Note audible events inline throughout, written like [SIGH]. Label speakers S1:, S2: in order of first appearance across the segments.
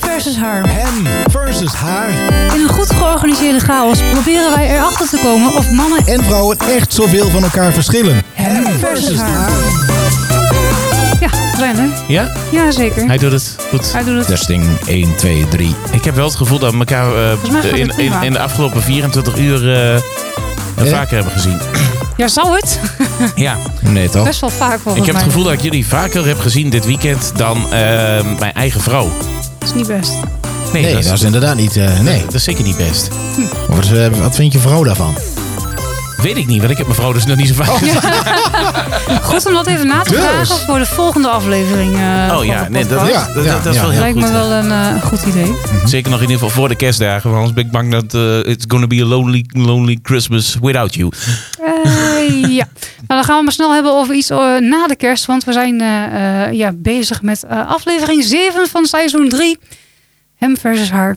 S1: versus haar.
S2: Hem versus haar.
S1: In een goed georganiseerde chaos proberen wij erachter te komen of mannen
S2: en vrouwen echt zoveel van elkaar verschillen.
S1: Hem versus haar. Ja, Glenn hè?
S3: Ja?
S1: Ja, zeker.
S3: Hij doet het goed.
S1: Hij doet het.
S2: Testing 1, 2, 3.
S3: Ik heb wel het gevoel dat we elkaar eh,
S1: mij gaat het
S3: in, in,
S1: prima.
S3: in de afgelopen 24 uur eh, vaker hebben gezien.
S1: Ja, zou het?
S3: Ja.
S2: Nee toch?
S1: Best wel vaak volgens
S3: Ik heb het
S1: mij.
S3: gevoel dat ik jullie vaker heb gezien dit weekend dan eh, mijn eigen vrouw.
S1: Dat is niet best.
S3: Nee,
S2: Nee,
S3: dat, is,
S2: dat is inderdaad niet. eh, nee.
S3: dat is zeker niet best.
S2: Wat, eh, wat vindt je vrouw daarvan?
S3: Weet ik niet, want ik heb mijn vrouw dus nog niet zo vaak gezien.
S1: Goed om dat even na te
S2: Dus.
S1: vragen voor de volgende aflevering. eh,
S3: Oh
S1: van
S3: ja,
S1: de
S3: nee, dat,
S1: podcast.
S2: Ja,
S3: dat,
S2: ja,
S3: dat, dat is
S2: ja.
S3: wel heel
S1: Lijkt
S3: goed.
S1: me wel een eh, goed idee.
S3: Zeker nog in ieder geval voor de kerstdagen. Want anders ben ik bang dat eh, it's gonna be a lonely, lonely Christmas without you.
S1: Eh, ja, nou, dan gaan we maar snel hebben over iets eh, na de kerst. Want we zijn eh, eh, ja, bezig met eh, aflevering 7 van seizoen 3. Hem versus haar.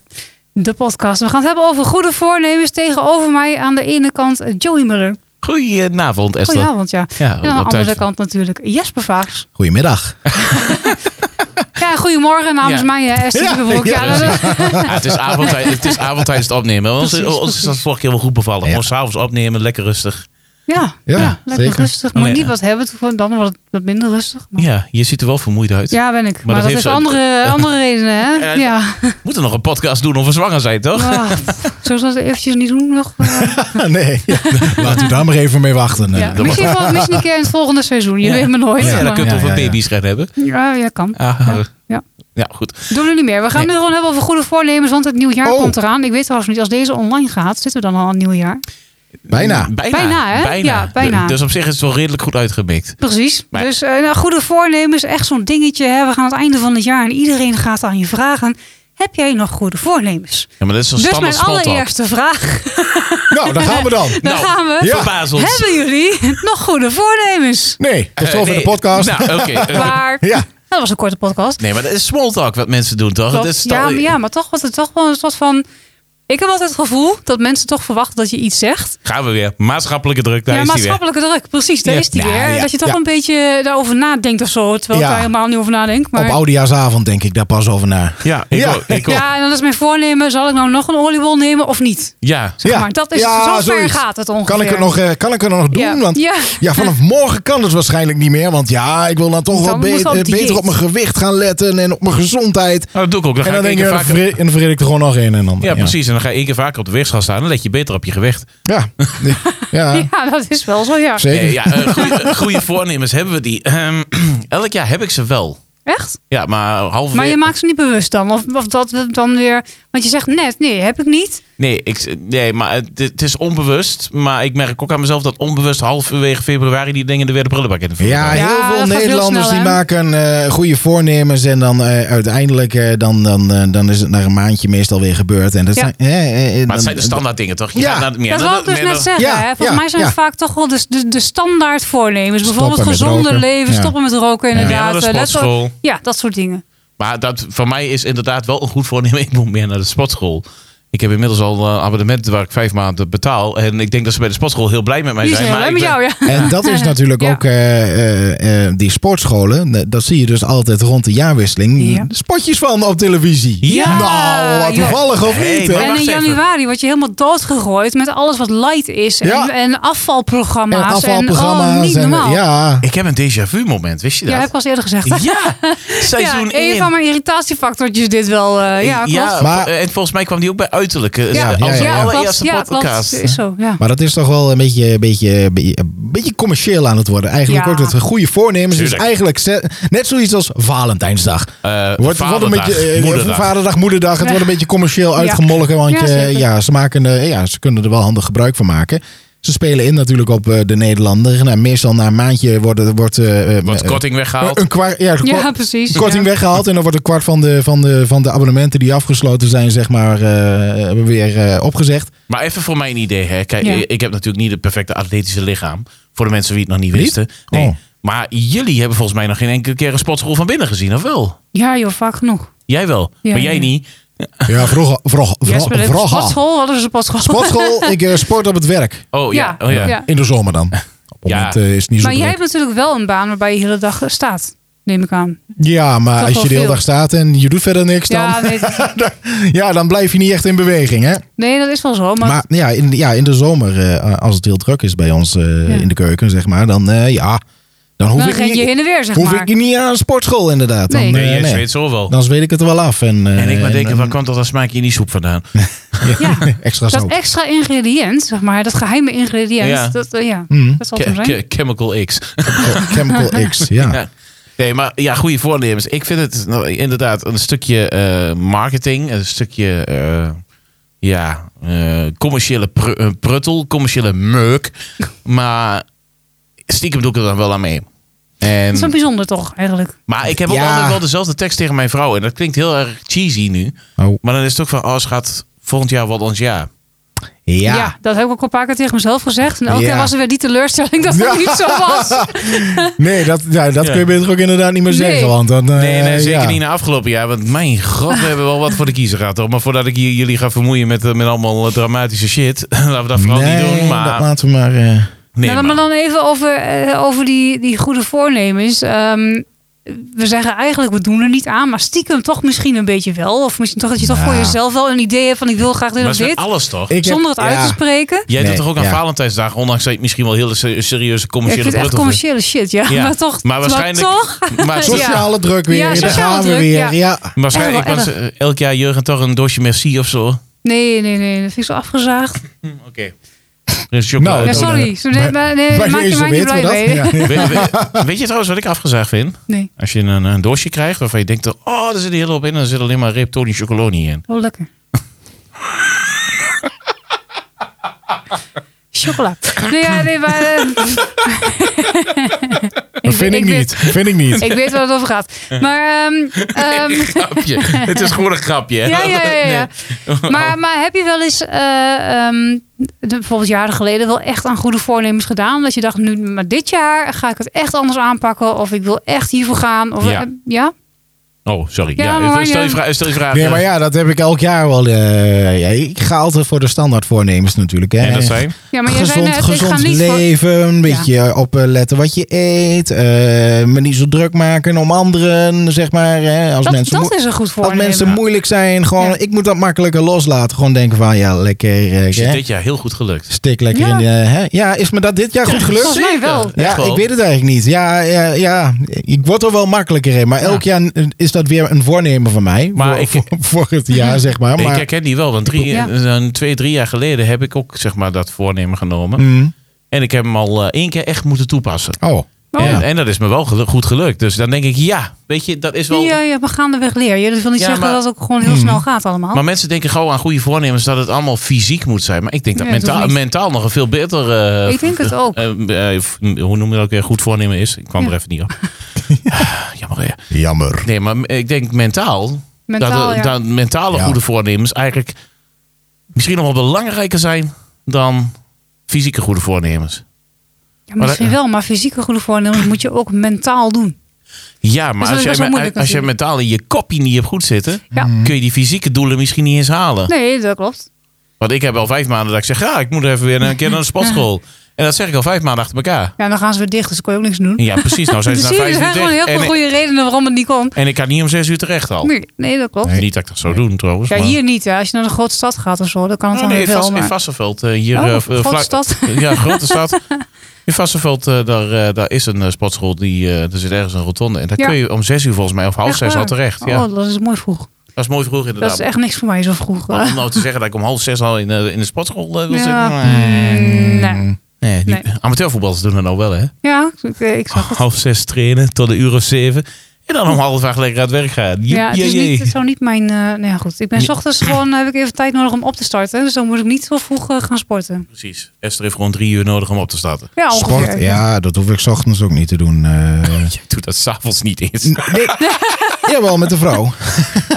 S1: De podcast. We gaan het hebben over goede voornemens. Tegenover mij aan de ene kant eh, Joey Muller.
S3: Goedenavond, Esther.
S1: Goedenavond, ja.
S3: Ja,
S1: En aan de
S3: op tijd.
S1: andere kant natuurlijk Jesper Vaags.
S2: Goedemiddag.
S1: Ja, en goedemorgen namens
S3: Ja.
S1: mij, eh, Esther
S2: Ja,
S1: de Verhoek. Ja,
S3: ja,
S1: dat-
S3: Ja, het is avond, het is avond tijdens het opnemen. Ons,
S1: Precies,
S3: ons is dat vorige keer wel goed bevallen.
S2: Ja.
S3: Gewoon s'avonds opnemen, lekker rustig.
S1: ja,
S2: Ja,
S1: lekker
S2: zeker.
S1: rustig. Moet
S3: Alleen,
S1: niet
S3: eh,
S1: wat hebben, toen- dan wordt het wat minder rustig. Maar-
S3: Ja, je ziet er wel vermoeid uit.
S1: Ja, ben ik. Maar,
S3: dat
S1: dat,
S3: heeft
S1: heeft
S3: zo-
S1: andere, andere redenen, hè?
S3: Eh,
S1: ja.
S3: We moeten nog een podcast doen of we zwanger zijn, toch?
S1: Ah, zullen we dat eventjes niet doen nog? Eh,
S2: [LAUGHS] nee. Laat u daar maar even mee wachten. eh.
S1: ja. Misschien, wel, misschien een keer in het volgende seizoen. Je
S3: Ja.
S1: weet me nooit.
S3: Ja, dan
S1: maar-
S3: kunnen we
S2: Ja,
S3: over
S2: ja, ja.
S3: baby's gaan hebben.
S1: ja, ja, kan.
S3: Ah, eh,
S1: Ja.
S3: ja, goed.
S1: Doen we niet meer. We gaan
S3: Nee.
S1: het gewoon hebben over goede voornemens, want het nieuwjaar
S2: Oh.
S1: komt eraan. Ik weet trouwens niet, als deze online gaat, zitten we dan al aan het nieuwjaar.
S2: Bijna.
S3: Bijna.
S1: Bijna, hè? Ja, bijna.
S3: Dus op zich is het wel redelijk goed uitgemikt.
S1: Precies.
S3: Maar-
S1: Dus eh, nou, goede voornemens, echt zo'n dingetje. Hè. We gaan aan het einde van het jaar en iedereen gaat aan je vragen. Heb jij nog goede voornemens?
S3: Ja, maar dat is een
S1: Dus
S3: standaard
S1: mijn
S3: spot
S1: allereerste vraag.
S2: Nou, daar gaan we dan.
S1: Daar gaan we.
S2: Ja.
S3: Verbaas ons.
S1: Hebben jullie [LAUGHS] nog goede voornemens?
S2: Nee, tot
S3: Eh,
S2: zover
S3: nee.
S2: de podcast.
S3: Nou, oké.
S1: [LAUGHS]
S3: eh,
S1: Waar?
S2: Ja.
S1: Dat was een korte podcast.
S3: nee, maar dat is small talk wat mensen doen, toch?
S1: Klopt.
S3: Dat is
S1: ja,
S3: toch-
S1: maar, ja, maar toch was het toch wel een soort van. Ik heb altijd het gevoel dat mensen toch verwachten dat je iets zegt.
S3: Gaan we weer. Maatschappelijke druk, daar
S1: ja,
S3: is die weer.
S1: maatschappelijke druk, precies. Daar
S3: Ja.
S1: is die
S2: Ja,
S1: weer.
S2: ja,
S1: dat je toch
S2: ja.
S1: een beetje daarover nadenkt of zo. Terwijl ik
S2: Ja.
S1: daar helemaal niet over nadenk. Maar...
S2: Op oudejaarsavond denk ik daar pas over na.
S3: Ja, ik
S2: Ja.
S3: ook. Ik ook.
S1: ja, en dan is mijn voornemen, zal ik nou nog een oliebol nemen of niet?
S3: ja.
S1: Zeg maar, dat is,
S2: ja,
S1: zo ver
S2: zoiets.
S1: gaat het ongeveer.
S2: Kan ik, het nog, eh, kan ik het nog doen?
S1: Ja.
S2: Want ja.
S1: Ja. [LAUGHS]
S2: vanaf morgen kan het waarschijnlijk niet meer. Want ja, ik wil dan toch
S1: Dan
S2: wel be-
S1: moet wel op
S2: eh,
S1: dieet.
S2: beter op mijn gewicht gaan letten en op mijn gezondheid.
S3: Nou, dat doe ik ook. Dan
S2: en
S3: ga
S2: dan denk
S3: ik één
S2: je,
S3: keer
S2: ja, dan
S3: vaker...
S2: vergeet- en dan vergeet ik er gewoon nog een en dan.
S3: Ja, precies. En dan ga je één keer vaker op de weegschaal staan. Dan let je beter op je gewicht. [LAUGHS]
S2: Ja, ja. ja.
S1: [LAUGHS] Ja, dat is wel zo, ja.
S2: zeker.
S3: Nee, ja, eh, goeie- eh, goede voornemens hebben we die. Ehm, [CLEARS THROAT] elk jaar heb ik ze wel.
S1: Echt?
S3: Ja, maar halverwege...
S1: Maar je maakt ze niet bewust dan? Of, of dat we dan weer... Want je zegt net, nee, heb ik niet.
S3: Nee, ik, nee maar het, het is onbewust. Maar ik merk ook aan mezelf dat onbewust halverwege februari die dingen er weer de prullenbak in.
S2: Ja,
S1: Ja,
S2: heel
S1: dat
S2: veel
S1: gaat heel
S2: Nederlanders
S1: snel,
S2: die
S1: hè?
S2: maken eh, goede voornemens. En dan eh, uiteindelijk eh, dan, dan, eh, dan is het na een maandje meestal weer gebeurd. En dat
S1: Ja.
S2: zijn, eh, eh, eh,
S3: Maar
S2: dan-
S3: het zijn de standaard dingen, toch? Je
S2: Ja.
S3: gaat naar- meer
S1: dat
S3: naar-
S1: wil ik dus
S3: meer
S1: net
S3: naar-
S1: zeggen.
S2: Ja,
S1: hè? Volgens
S2: ja,
S1: mij zijn
S2: ja.
S1: het vaak toch wel de, de, de standaard voornemens. Bijvoorbeeld
S2: met
S1: gezonder
S2: roken.
S1: leven,
S2: Ja.
S1: stoppen met roken
S3: meer naar
S1: inderdaad.
S3: de
S1: Eh, let op-
S3: sportschool.
S1: ja, dat soort dingen.
S3: Maar dat, voor mij is inderdaad wel een goed voornemen. [LAUGHS] Ik moet meer naar de sportschool. Ik heb inmiddels al een abonnement waar ik vijf maanden betaal. En ik denk dat ze bij de sportschool heel blij met mij
S1: Die
S3: zijn.
S1: zijn
S3: maar
S1: blij
S3: ik
S1: met
S3: ben-
S1: jou, ja.
S2: En dat is natuurlijk
S1: [LAUGHS] Ja.
S2: ook eh, eh, eh, die sportscholen. eh, Dat zie je dus altijd rond de jaarwisseling.
S1: Ja.
S2: Spotjes van op televisie.
S3: Ja.
S2: Nou, wat
S1: Ja.
S2: toevallig of
S3: Hey,
S2: niet.
S3: maar-
S2: hè?
S1: En
S3: wacht
S1: in
S3: even.
S1: januari word je helemaal doodgegooid met alles wat light is. En,
S2: Ja.
S1: en afvalprogramma's.
S2: En afvalprogramma's.
S1: En, oh, niet
S2: en,
S1: normaal. ja,
S2: ja.
S3: Ik heb een déjà vu moment, wist je dat?
S1: heb ik al eens eerder gezegd. [LAUGHS]
S3: Ja,
S1: Ja,
S3: seizoen 1.
S1: een van mijn irritatiefactortjes dit wel. eh, ja, klopt. Ja,
S2: Maar-
S3: en volgens mij kwam die ook bij uiterlijke. eh,
S2: Ja,
S3: als
S2: ja,
S3: de
S2: ja, ja.
S3: allereerste
S1: klopt. Ja, klopt.
S3: podcast.
S1: Is zo, ja.
S2: Maar dat is toch wel een beetje, een beetje, een beetje- een beetje commercieel aan het worden. Eigenlijk
S1: Ja.
S2: wordt het een goede voornemens. Dus
S3: Tuurlijk.
S2: eigenlijk ze- net zoiets als Valentijnsdag.
S3: Eh,
S2: Wordt, wordt een
S3: Vaderdag,
S2: beetje, eh,
S3: Moederdag.
S2: vaderdag, moederdag. Het
S1: Ja.
S2: wordt een beetje commercieel uitgemolken. Want
S1: Ja,
S2: eh,
S1: zeker.
S2: ja, ze maken, eh, ja, ze kunnen er wel handig gebruik van maken. Ze spelen in natuurlijk op eh, de Nederlander. Nou, meestal na een maandje wordt, er- wordt, eh, eh,
S3: Wordt
S2: eh,
S3: korting weggehaald.
S2: een kwart, ja, een
S1: ja,
S2: kwart-
S1: precies.
S2: korting
S1: ja.
S2: weggehaald. En dan wordt een kwart van de, van, de, van de abonnementen die afgesloten zijn, zeg maar, eh, weer eh, opgezegd.
S3: Maar even voor mijn idee. Hè. Kijk,
S1: Ja.
S3: eh, ik heb natuurlijk niet het perfecte atletische lichaam. Voor de mensen die het nog niet
S2: Niet?
S3: wisten. Nee.
S2: Oh.
S3: Maar jullie hebben volgens mij nog geen enkele keer een sportschool van binnen gezien, of wel?
S1: Ja, joh, vaak genoeg.
S3: Jij wel,
S1: Ja,
S3: maar jij
S1: ja.
S3: niet.
S2: Ja, vroeger. Vroeger.
S1: Jesper, dit is
S2: vroeger.
S1: sportschool. Wat is een sportschool?
S2: Sportschool, ik eh, sport op het werk.
S3: Oh ja, oh, ja.
S1: ja.
S2: In de zomer dan. Op het
S3: Ja.
S2: moment eh, is het niet zo
S1: Maar jij
S2: druk.
S1: hebt natuurlijk wel een baan waarbij je de hele dag eh, staat. neem ik aan.
S2: Ja, maar
S1: Toch
S2: als
S1: wel
S2: je de hele
S1: veel.
S2: dag staat en je doet verder niks,
S1: Ja,
S2: [LAUGHS] dan,
S1: nee,
S2: ja, dan blijf je niet echt in beweging. Hè?
S1: nee, dat is wel zo. Maar,
S2: Maar ja in, ja, in de zomer, eh, als het heel druk is bij ons eh,
S1: Ja.
S2: in de keuken, zeg maar, dan, eh, ja, dan hoef,
S1: dan
S2: ik,
S1: ren
S2: niet,
S1: je heen en weer, zeg
S2: hoef
S1: maar.
S2: ik niet aan een sportschool, inderdaad. Dan,
S1: Nee.
S3: Nee,
S2: eh,
S3: je
S2: nee.
S3: weet zo wel.
S2: dan zweet ik het er wel af. En, eh,
S3: en ik maar denken,
S2: en-
S3: waar kwam dat dat smaakje in die soep vandaan?
S2: [LAUGHS]
S1: Ja,
S2: extra
S1: dat
S2: zout.
S1: extra ingrediënt, zeg maar, dat geheime ingrediënt,
S3: Ja.
S1: dat, eh, ja,
S2: Mm.
S1: dat zal het hem
S3: Ke-
S1: zijn.
S3: ke- chemical X.
S2: Oh, Chemical X, ja.
S3: Ja. Nee, maar ja, goede voornemens. Ik vind het nou, inderdaad een stukje eh, marketing, een stukje eh, ja, eh, commerciële pr- eh, pruttel, commerciële
S2: [LAUGHS]
S3: meuk. Maar stiekem doe ik er dan wel aan mee.
S1: Dat is
S3: En,
S1: wel bijzonder toch, eigenlijk.
S3: maar ik heb ook
S2: Ja.
S3: altijd wel dezelfde tekst tegen mijn vrouw. En dat klinkt heel erg cheesy nu.
S2: Oh,
S3: Maar dan is het ook van, oh schat, volgend jaar wordt ons jaar.
S1: Ja.
S2: ja.
S1: dat heb ik ook een paar keer tegen mezelf gezegd. En elke
S2: Ja.
S1: keer was er weer die teleurstelling dat het
S2: Ja.
S1: niet zo was.
S2: [LAUGHS] Nee, dat, ja, dat
S3: Ja.
S2: kun je beter ook inderdaad niet meer
S1: Nee.
S2: zeggen. Want dan, eh,
S3: Nee, nee zeker
S2: ja.
S3: niet na afgelopen jaar. Want mijn god, we hebben wel wat voor de kiezer gehad. Toch? Maar voordat ik hier jullie ga vermoeien met, eh, met allemaal eh, dramatische shit. [LAUGHS] laten we dat vooral
S2: Nee,
S3: niet doen.
S2: dat
S3: Maar,
S2: laten we maar... eh,
S3: nee,
S1: nou, dan
S3: maar,
S1: maar dan even over, eh, over die, die goede voornemens. Ehm, we zeggen eigenlijk, we doen er niet aan, maar stiekem toch misschien een beetje wel. Of misschien toch dat je toch
S2: Ja.
S1: voor jezelf wel een idee hebt van ik wil graag dit
S3: maar
S1: of
S3: is met
S1: dit.
S3: alles toch?
S2: ik heb-
S1: Zonder het uit
S2: ja.
S1: te spreken.
S3: Jij
S2: Nee,
S3: doet toch ook aan
S2: ja.
S3: Valentijnsdag, ondanks dat je misschien wel heel se- serieuze
S1: Ja, ik
S3: commerciële
S1: vind het echt
S3: pruttel vindt.
S1: commerciële shit, ja. [LAUGHS]
S3: Ja.
S1: Maar toch.
S3: Maar waarschijnlijk-
S1: toch?
S3: Maar
S1: [LAUGHS] Ja.
S2: Sociale druk weer.
S1: Ja,
S2: daar
S1: sociale
S2: gaan we
S1: druk,
S2: weer.
S1: ja.
S2: Ja.
S3: waarschijnlijk
S1: Echt wel
S3: was eh, elk jaar Jurgen toch een doosje merci of zo. Oké.
S1: Nee, nee, nee. Dat vind ik zo afgezaagd.
S3: Er is chocola.
S2: Nou,
S1: Ja,
S2: dat-
S1: sorry. Zo, nee,
S2: bij-
S1: maar, nee,
S2: Bij
S1: maak je
S2: deze
S1: mij niet
S2: weten we
S1: blij
S2: dat.
S1: mee. [LAUGHS]
S2: Ja.
S3: We- we- weet je trouwens wat ik afgezaagd vind?
S1: Nee.
S3: Als je een, een doosje krijgt waarvan je denkt, oh, er zit een hele hoop in. En er zit alleen maar Riptoni Chocoloni in.
S1: Oh,
S2: [LAUGHS]
S1: lekker. Chocola. Nee, ja, nee, maar... eh,
S2: [LAUGHS]
S1: [LAUGHS]
S2: Dat vind ik,
S1: weet-
S2: niet. Vind ik niet.
S1: Ik weet waar het over gaat. Maar,
S2: [LAUGHS]
S1: ehm, ehm, [LAUGHS]
S3: grapje. Het is gewoon een grapje. hè?
S1: ja, ja, ja, ja.
S3: [LAUGHS]
S1: Maar,
S3: Oh.
S1: maar heb je wel eens, eh, ehm, de- bijvoorbeeld jaren geleden, wel echt aan goede voornemens gedaan? Omdat je dacht, nu, maar dit jaar ga ik het echt anders aanpakken. Of ik wil echt hiervoor gaan. Of,
S3: Ja.
S1: eh, ja?
S3: Oh, sorry.
S1: Ja,
S3: Ja,
S1: maar
S3: stel, je
S1: ja.
S3: vraag, stel je vraag. eh,
S2: Nee, maar ja, dat heb ik elk jaar wel. eh, ja, ik ga altijd voor de standaard voornemens natuurlijk. Hè.
S3: En dat zijn?
S1: Ja, maar jij
S2: gezond,
S1: zei net, ik
S2: gezond
S1: ga niet voor-
S2: leven, een beetje op eh, letten wat je eet, eh, me niet zo druk maken om anderen, zeg maar. Hè, als
S1: Dat,
S2: mensen
S1: dat
S2: moe-
S1: is een goed
S2: als
S1: voornemen.
S2: mensen moeilijk zijn, gewoon,
S1: Ja.
S2: ik moet dat makkelijker loslaten. Gewoon denken van, ja, lekker, eh,
S3: Is je
S2: hè,
S3: dit jaar heel goed gelukt.
S2: stik lekker
S1: Ja.
S2: in de... Hè? Ja, is me dat dit jaar goed gelukt?
S1: Volgens mij wel.
S2: Ja, ik weet het eigenlijk niet. Ja, ja, ja, ik word er wel makkelijker in. Maar elk jaar is dat weer een voornemen van mij.
S3: Maar
S2: voor,
S3: ik-
S2: voor, voor het
S1: [LAUGHS]
S2: jaar, zeg maar.
S3: Ik
S2: maar
S3: herken die wel, want drie, eh,
S1: Ja.
S3: zo'n twee, drie jaar geleden heb ik ook zeg maar, dat voornemen genomen.
S2: Mm.
S3: En ik heb hem al eh, één keer echt moeten toepassen.
S2: Oh,
S1: Oh.
S3: En, en dat is me wel gelu- goed gelukt. Dus dan denk ik, ja, weet je, dat is wel...
S1: Ja, eh, ja, maar gaandeweg leer je. Dat wil niet
S3: Ja,
S1: zeggen
S3: maar-
S1: dat het ook gewoon heel
S2: Hmm.
S1: snel gaat allemaal.
S3: Maar mensen denken gewoon aan goede voornemens dat het allemaal fysiek moet zijn. Maar ik denk dat
S1: Nee, dat
S3: mentaal,
S1: hoeft niet.
S3: mentaal nog een veel beter... eh,
S1: Ik denk het ook.
S3: eh, eh, hoe noem je dat ook weer? Goed voornemen is. Ik kwam
S1: Ja.
S3: er even niet op.
S1: [LAUGHS]
S3: Ah, Jammer hè.
S2: jammer.
S3: Nee, maar ik denk mentaal.
S1: Mentaal,
S3: dat, eh,
S1: ja.
S3: dat mentale
S2: Ja.
S3: goede voornemens eigenlijk misschien nog wel belangrijker zijn dan fysieke goede voornemens.
S1: Ja, misschien
S3: Maar
S1: wel, maar fysieke goede voornemens moet je ook mentaal doen.
S3: Ja, maar
S1: Dat is best
S3: als jij,
S1: wel
S3: me-
S1: moeilijk
S3: als jij
S1: natuurlijk.
S3: mentaal in je kopje niet hebt goed zitten,
S1: Ja.
S3: kun je die fysieke doelen misschien niet eens halen.
S1: Nee, dat klopt.
S3: Want ik heb al vijf maanden dat ik zeg, ja, ik moet even weer een keer naar de sportschool. En dat zeg ik al vijf maanden achter elkaar.
S1: Ja, dan gaan ze weer dicht, dus dan kon je ook niks doen.
S3: Ja, precies.
S1: [LAUGHS]
S3: Nou zijn
S1: dus
S3: ze na
S1: zie je, er
S3: vijf
S1: zijn
S3: uur
S1: gewoon
S3: dicht.
S1: heel veel
S3: En,
S1: goede redenen waarom het niet kon.
S3: en ik kan niet om zes uur terecht al.
S1: Nee, nee, dat klopt.
S2: Nee.
S3: Niet dat ik dat zou doen trouwens.
S1: Ja,
S3: maar-
S1: hier niet. Hè. Als je naar een grote stad gaat of zo, dan kan het
S3: Oh,
S1: dan
S3: nee,
S1: weer wel.
S3: vast, in
S1: Maar...
S3: Vassenveld. eh, hier,
S1: Oh,
S3: eh,
S1: grote
S3: vlak-
S1: stad.
S3: [LAUGHS] Ja,
S1: [LAUGHS]
S3: grote stad. In Vassenveld, eh, daar, eh, daar is een eh, sportschool. Die, eh, er zit ergens een rotonde. En daar
S1: Ja.
S3: kun je om zes uur volgens mij, of half
S1: Echt
S3: zes al
S1: waar?
S3: terecht. Ja.
S1: Oh, dat is mooi vroeg.
S3: Dat is mooi vroeg
S1: Dat
S3: inderdaad.
S1: is echt niks voor mij zo vroeg.
S3: Maar om nou te zeggen dat ik om half zes al in, de- in de sportschool eh,
S1: Ja.
S3: wil zitten.
S1: Mm, nee.
S3: Nee, die-
S1: Nee.
S3: Amateurvoetballers doen dat nou wel hè.
S1: Ja, ik, ik zag het.
S3: Half zes trainen tot een uur of zeven. En dan om half acht lekker aan het werk gaan. Jep,
S1: Ja, het,
S3: jee,
S1: is
S3: jee.
S1: niet, het zou niet mijn... eh nou ja, goed. Ik ben s ochtends gewoon... eh, heb ik even tijd nodig om op te starten. Dus dan moet ik niet zo vroeg eh, gaan sporten.
S3: Precies. Esther heeft gewoon drie uur nodig om op te starten.
S1: Ja, ongeveer.
S2: Sport, ja, dat hoef ik 's ochtends ook niet te
S1: [LAUGHS]
S2: doen. eh.
S3: Je doet dat s'avonds niet eens.
S2: Nee. Jawel, met de vrouw.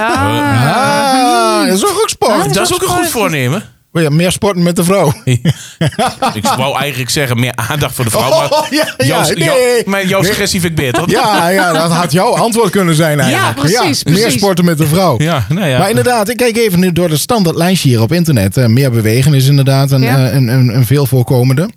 S1: Ah.
S2: Ah, dat is ook, ook sport. Oh
S3: dat is ook een goed voornemen.
S2: [LAUGHS] Ja, meer sporten met de vrouw.
S3: Ik wou eigenlijk zeggen meer aandacht voor de vrouw. Maar
S2: [LAUGHS] Oh, ja, ja,
S3: jouw,
S2: nee.
S3: jouw- maar jouw suggestie vind ik beter.
S2: Ja, ja, dat had jouw antwoord kunnen zijn eigenlijk.
S1: precies,
S2: Meer
S1: precies.
S2: sporten met de vrouw.
S3: Ja, nou ja.
S2: Maar inderdaad, ik kijk even nu door het standaard lijstje hier op internet. Eh, meer bewegen is inderdaad een,
S1: Ja.
S2: eh, een, een, een veel voorkomende.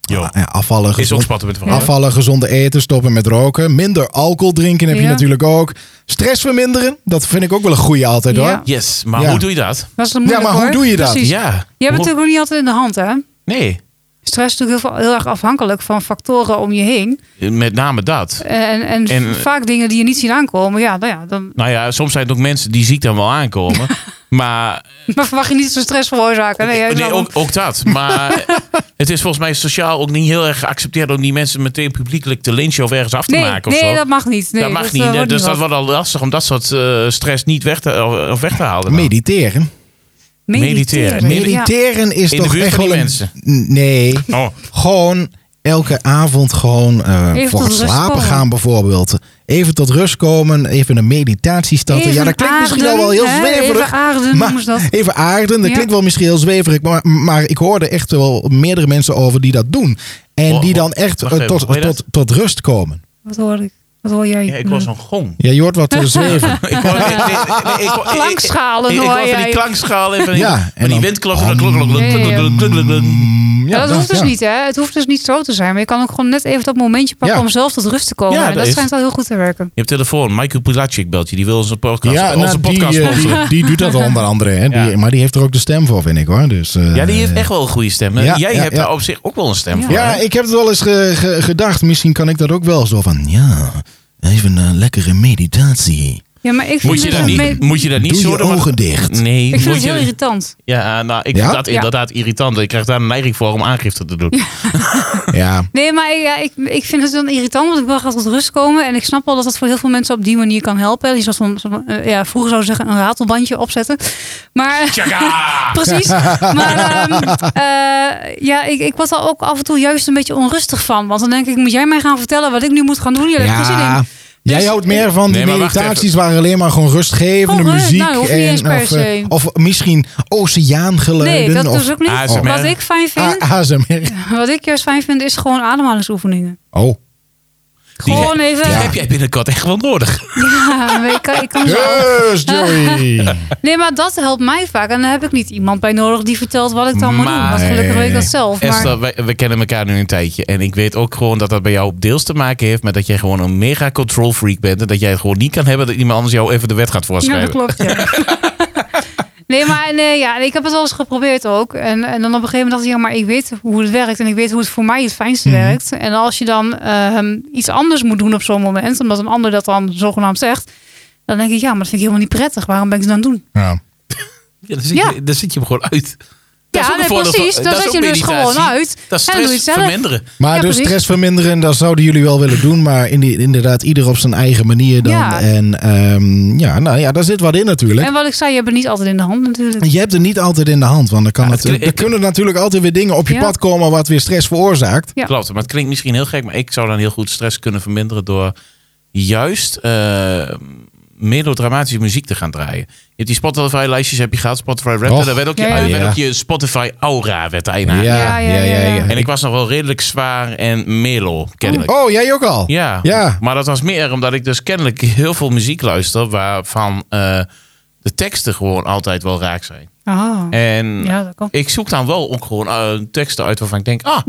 S3: Jo.
S2: Ja, afvallen,
S3: Is ook
S2: gezond,
S3: spatten met
S1: Ja.
S3: verhaal.
S2: afvallen, gezond eten, stoppen met roken. Minder alcohol drinken heb je
S1: Ja.
S2: natuurlijk ook. Stress verminderen, dat vind ik ook wel een goeie altijd
S1: Ja.
S2: hoor.
S3: Yes, maar
S2: Ja.
S3: hoe doe je dat?
S1: Dat is moeilijk,
S2: Ja, maar hoe
S1: hoor.
S2: doe je dat?
S1: Precies.
S3: Ja.
S1: Je hebt
S3: Hoe-
S1: natuurlijk ook niet altijd in de hand, hè?
S3: Nee,
S1: Stress is natuurlijk heel, veel- heel erg afhankelijk van factoren om je heen.
S3: met name dat.
S1: En, en,
S3: En-
S1: vaak dingen die je niet ziet aankomen. Ja, nou ja, dan
S3: Nou ja, soms zijn het ook mensen die ziek dan wel aankomen. maar
S1: [LAUGHS] maar verwacht je niet zo'n stress veroorzaken. Nee,
S3: nee,
S1: jij zou-
S3: ook, ook dat.
S1: [LAUGHS]
S3: Maar het is volgens mij sociaal ook niet heel erg geaccepteerd om die mensen meteen publiekelijk te lynchen of ergens af te
S1: nee,
S3: maken. of
S1: nee
S3: zo.
S1: dat mag niet. Nee,
S3: dat mag
S1: dat, eh,
S3: niet.
S1: wordt
S3: dus
S1: niet
S3: dat
S1: wat.
S3: wordt al lastig om dat soort eh, stress niet weg te, eh, of- of weg te halen. dan.
S2: Mediteren.
S3: mediteren.
S1: Ja.
S2: Mediteren is
S3: In de
S2: toch
S3: buurt
S2: echt
S3: van die
S2: wel een-
S3: mensen.
S2: Nee,
S3: Oh,
S2: gewoon elke avond gewoon eh,
S1: Even
S2: voor
S1: tot
S2: het
S1: rust
S2: slapen
S1: komen.
S2: gaan bijvoorbeeld. Even tot rust komen, even een meditatiestand.
S1: Even
S2: Ja, dat klinkt misschien al wel heel
S1: aarden, hè,
S2: zweverig.
S1: Even aarden
S2: Maar-
S1: noemen ze dat.
S2: Even aarden, dat
S1: Ja.
S2: klinkt wel misschien heel zweverig, maar, maar ik hoorde echt wel meerdere mensen over die dat doen. En
S3: Wa-
S2: die
S3: wa-
S2: dan echt
S3: wacht
S2: eh,
S3: even,
S2: tot,
S3: hoor je dat?
S2: tot, tot rust komen.
S1: Wat hoor ik? Wat hoor jij?
S3: ja, ik was een gong.
S2: Ja, je hoort wat
S1: [LAUGHS]
S2: eh, zweven.
S3: Ik hoor- nee, nee, nee, ik hoor- ik-
S1: Klankschalen
S3: ik- ik
S1: hoor
S3: hoor van
S1: jij.
S3: die klankschalen en van die,
S2: Ja, en
S3: ja, van die
S2: dan- Oh,
S3: windklokken. klok, klok, klok, klok, klok, klok, klok, klok, klok.
S2: Mm,
S1: Ja, dat hoeft dus
S2: ja.
S1: niet, hè? Het hoeft dus niet zo te zijn. Maar je kan ook gewoon net even dat momentje pakken
S2: Ja.
S1: om zelf tot rust te komen.
S3: Ja,
S1: en
S3: dat
S1: dat
S3: is-
S1: schijnt wel heel goed te werken.
S3: Je hebt telefoon. Michael Pulacik belt je. Die wil onze podcast,
S2: Ja,
S3: onze
S2: nou, die,
S3: podcast
S2: eh, die,
S3: sponsoren.
S2: die doet
S1: [LAUGHS]
S2: dat onder andere. Hè. Die-
S3: Ja.
S2: Maar die heeft er ook de stem voor, vind ik hoor. Dus, eh,
S3: Ja, die heeft echt wel een goede stem. hè?
S2: Ja,
S3: Jij
S2: ja,
S3: hebt
S2: ja.
S3: daar op zich ook wel een stem
S1: Ja.
S3: voor.
S2: Ja,
S3: hè?
S2: ik heb het wel eens ge- ge- gedacht. Misschien kan ik dat ook wel zo van. Ja, even een lekkere meditatie.
S1: Ja, maar ik vind
S3: Moet je
S1: dus
S3: dat
S1: een
S3: niet,
S1: me-
S3: moet je dat niet
S2: Doe
S3: zo
S2: je
S3: doen, want-
S2: ogen
S3: [LAUGHS]
S2: dicht.
S3: Nee,
S1: Ik vind
S3: moet
S1: het heel
S3: je-
S1: irritant.
S3: Ja, nou, ik
S2: Ja?
S3: vind dat
S1: Ja.
S3: inderdaad irritant. Ik krijg daar een neiging voor om aangifte te doen.
S2: Ja,
S1: Nee, maar ik- ja, ik, ik vind het dan irritant, want ik wil graag tot rust komen. En ik snap wel dat dat voor heel veel mensen op die manier kan helpen. Die zoals van, zo- eh, ja, vroeger zou ik zeggen, een ratelbandje opzetten. Maar eh,
S3: Tjaka!
S1: [LAUGHS] precies. Maar ehm, eh, ja, ik, ik word daar ook af en toe juist een beetje onrustig van. Want dan denk ik, moet jij mij gaan vertellen wat ik nu moet gaan doen? Ja, daar heb ik geen zin in.
S2: ja. Jij
S1: Dus-
S2: houdt meer van die
S3: Nee, maar wacht
S2: meditaties waar alleen maar gewoon rustgevende
S1: Gewoon rust.
S2: muziek.
S1: Nou, dat hoeft niet eens per
S2: of, eh,
S1: se.
S2: of misschien
S1: Nee,
S2: oceaangeluiden.
S1: dat
S2: of Ah,
S1: dus ook niet.
S3: ASMR.
S1: Wat ik fijn
S2: A-
S1: vind,
S2: ASMR.
S1: wat ik juist fijn vind, is gewoon ademhalingsoefeningen. [LAUGHS]
S2: Oh,
S1: Gewoon even.
S3: Die
S1: Ja,
S3: heb jij binnenkort echt wel nodig.
S1: maar ik kan, ik kan zo- [LAUGHS]
S2: yes, Joey.
S1: Nee, maar dat helpt mij vaak. En daar heb ik niet iemand bij nodig die vertelt wat ik dan moet doen.
S3: Maar-
S1: Want gelukkig weet ik dat zelf. Maar
S3: Esther, wij- we kennen elkaar nu een tijdje. En ik weet ook gewoon dat dat bij jou deels te maken heeft met dat jij gewoon een mega control freak bent. En dat jij het gewoon niet kan hebben dat iemand anders jou even de wet gaat
S1: ja, dat
S3: voorschrijven.
S1: klopt. Ja.
S3: [LAUGHS]
S1: nee, maar nee, ja, en ik heb het wel eens geprobeerd ook. En, en dan op een gegeven moment dacht ik, ja, maar ik weet hoe het werkt. En ik weet hoe het voor mij het fijnste
S3: Mhm.
S1: werkt. En als je dan ehm, iets anders moet doen op zo'n moment, omdat een ander dat dan zogenaamd zegt. Dan denk ik, ja, maar dat vind ik helemaal niet prettig. Waarom ben ik het dan aan het doen?
S2: Ja.
S3: Ja, dan, zit je,
S1: Ja.
S3: dan zit je hem gewoon uit. Dat is
S1: Ja,
S3: ook een
S1: nee,
S3: voordeel van-
S1: precies. Dan
S3: dat is
S1: zet je
S3: ook
S1: hem dus
S3: meditatie.
S1: gewoon uit.
S3: Dat is
S1: En dan doe je het
S3: stress
S1: zelf.
S3: verminderen.
S2: Maar
S1: Ja,
S2: dus
S1: precies.
S2: stress verminderen, dat zouden jullie wel willen doen. Maar in die, inderdaad, ieder op zijn eigen manier dan.
S1: Ja.
S2: En ehm, ja, nou ja, daar zit wat in natuurlijk.
S1: En wat ik zei, je hebt het niet altijd in de hand natuurlijk.
S2: Je hebt het niet altijd in de hand, want er, kan
S3: Ja,
S2: het,
S3: het klinkt-
S2: er kunnen natuurlijk altijd weer dingen op je
S1: Ja.
S2: pad komen wat weer stress veroorzaakt.
S1: Ja.
S3: Klopt, maar het klinkt misschien heel gek, maar ik zou dan heel goed stress kunnen verminderen door juist eh, melodramatische muziek te gaan draaien. Je hebt die Spotify lijstjes heb je gehad, Spotify Rap,
S2: Och.
S3: daar werd ook,
S1: Ja,
S3: je,
S2: ja.
S3: werd ook je Spotify Aura werd daarna.
S1: Ja, ja, ja, ja.
S3: En ik was nog wel redelijk zwaar en melo, kennelijk.
S2: Oh, jij ook al?
S3: Ja.
S2: Ja.
S3: maar dat was meer omdat ik dus kennelijk heel veel muziek luister waarvan eh, de teksten gewoon altijd wel raak zijn.
S1: Ah,
S3: En eh,
S1: ja, dat kan.
S3: ik zoek dan wel ook gewoon eh, teksten uit waarvan ik denk, ah,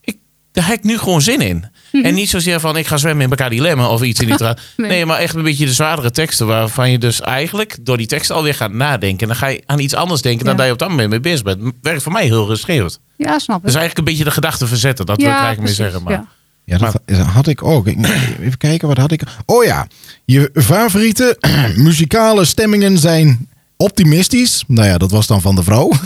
S3: ik, daar heb ik nu gewoon zin in. En niet zozeer van ik ga zwemmen in elkaar dilemma of iets in
S1: [LAUGHS]
S3: die tra- nee.
S1: Mhm. Nee.
S3: maar echt een beetje de zwaardere teksten waarvan je dus eigenlijk door die teksten alweer gaat nadenken. En dan ga je aan iets anders denken dan
S1: Ja.
S3: dat je op dat moment mee bezig bent. Werkt voor mij heel rustgevend.
S1: Ja, snap ik.
S3: Dus eigenlijk een beetje de gedachten verzetten. Dat wil ik eigenlijk meer
S1: precies,
S3: zeggen. Maar
S1: ja.
S2: Ja, dat had ik ook. Ik, even kijken, wat had ik? Oh ja, je favoriete [CLEARS THROAT] muzikale stemmingen zijn optimistisch. Nou ja, dat was dan van de vrouw. [LAUGHS]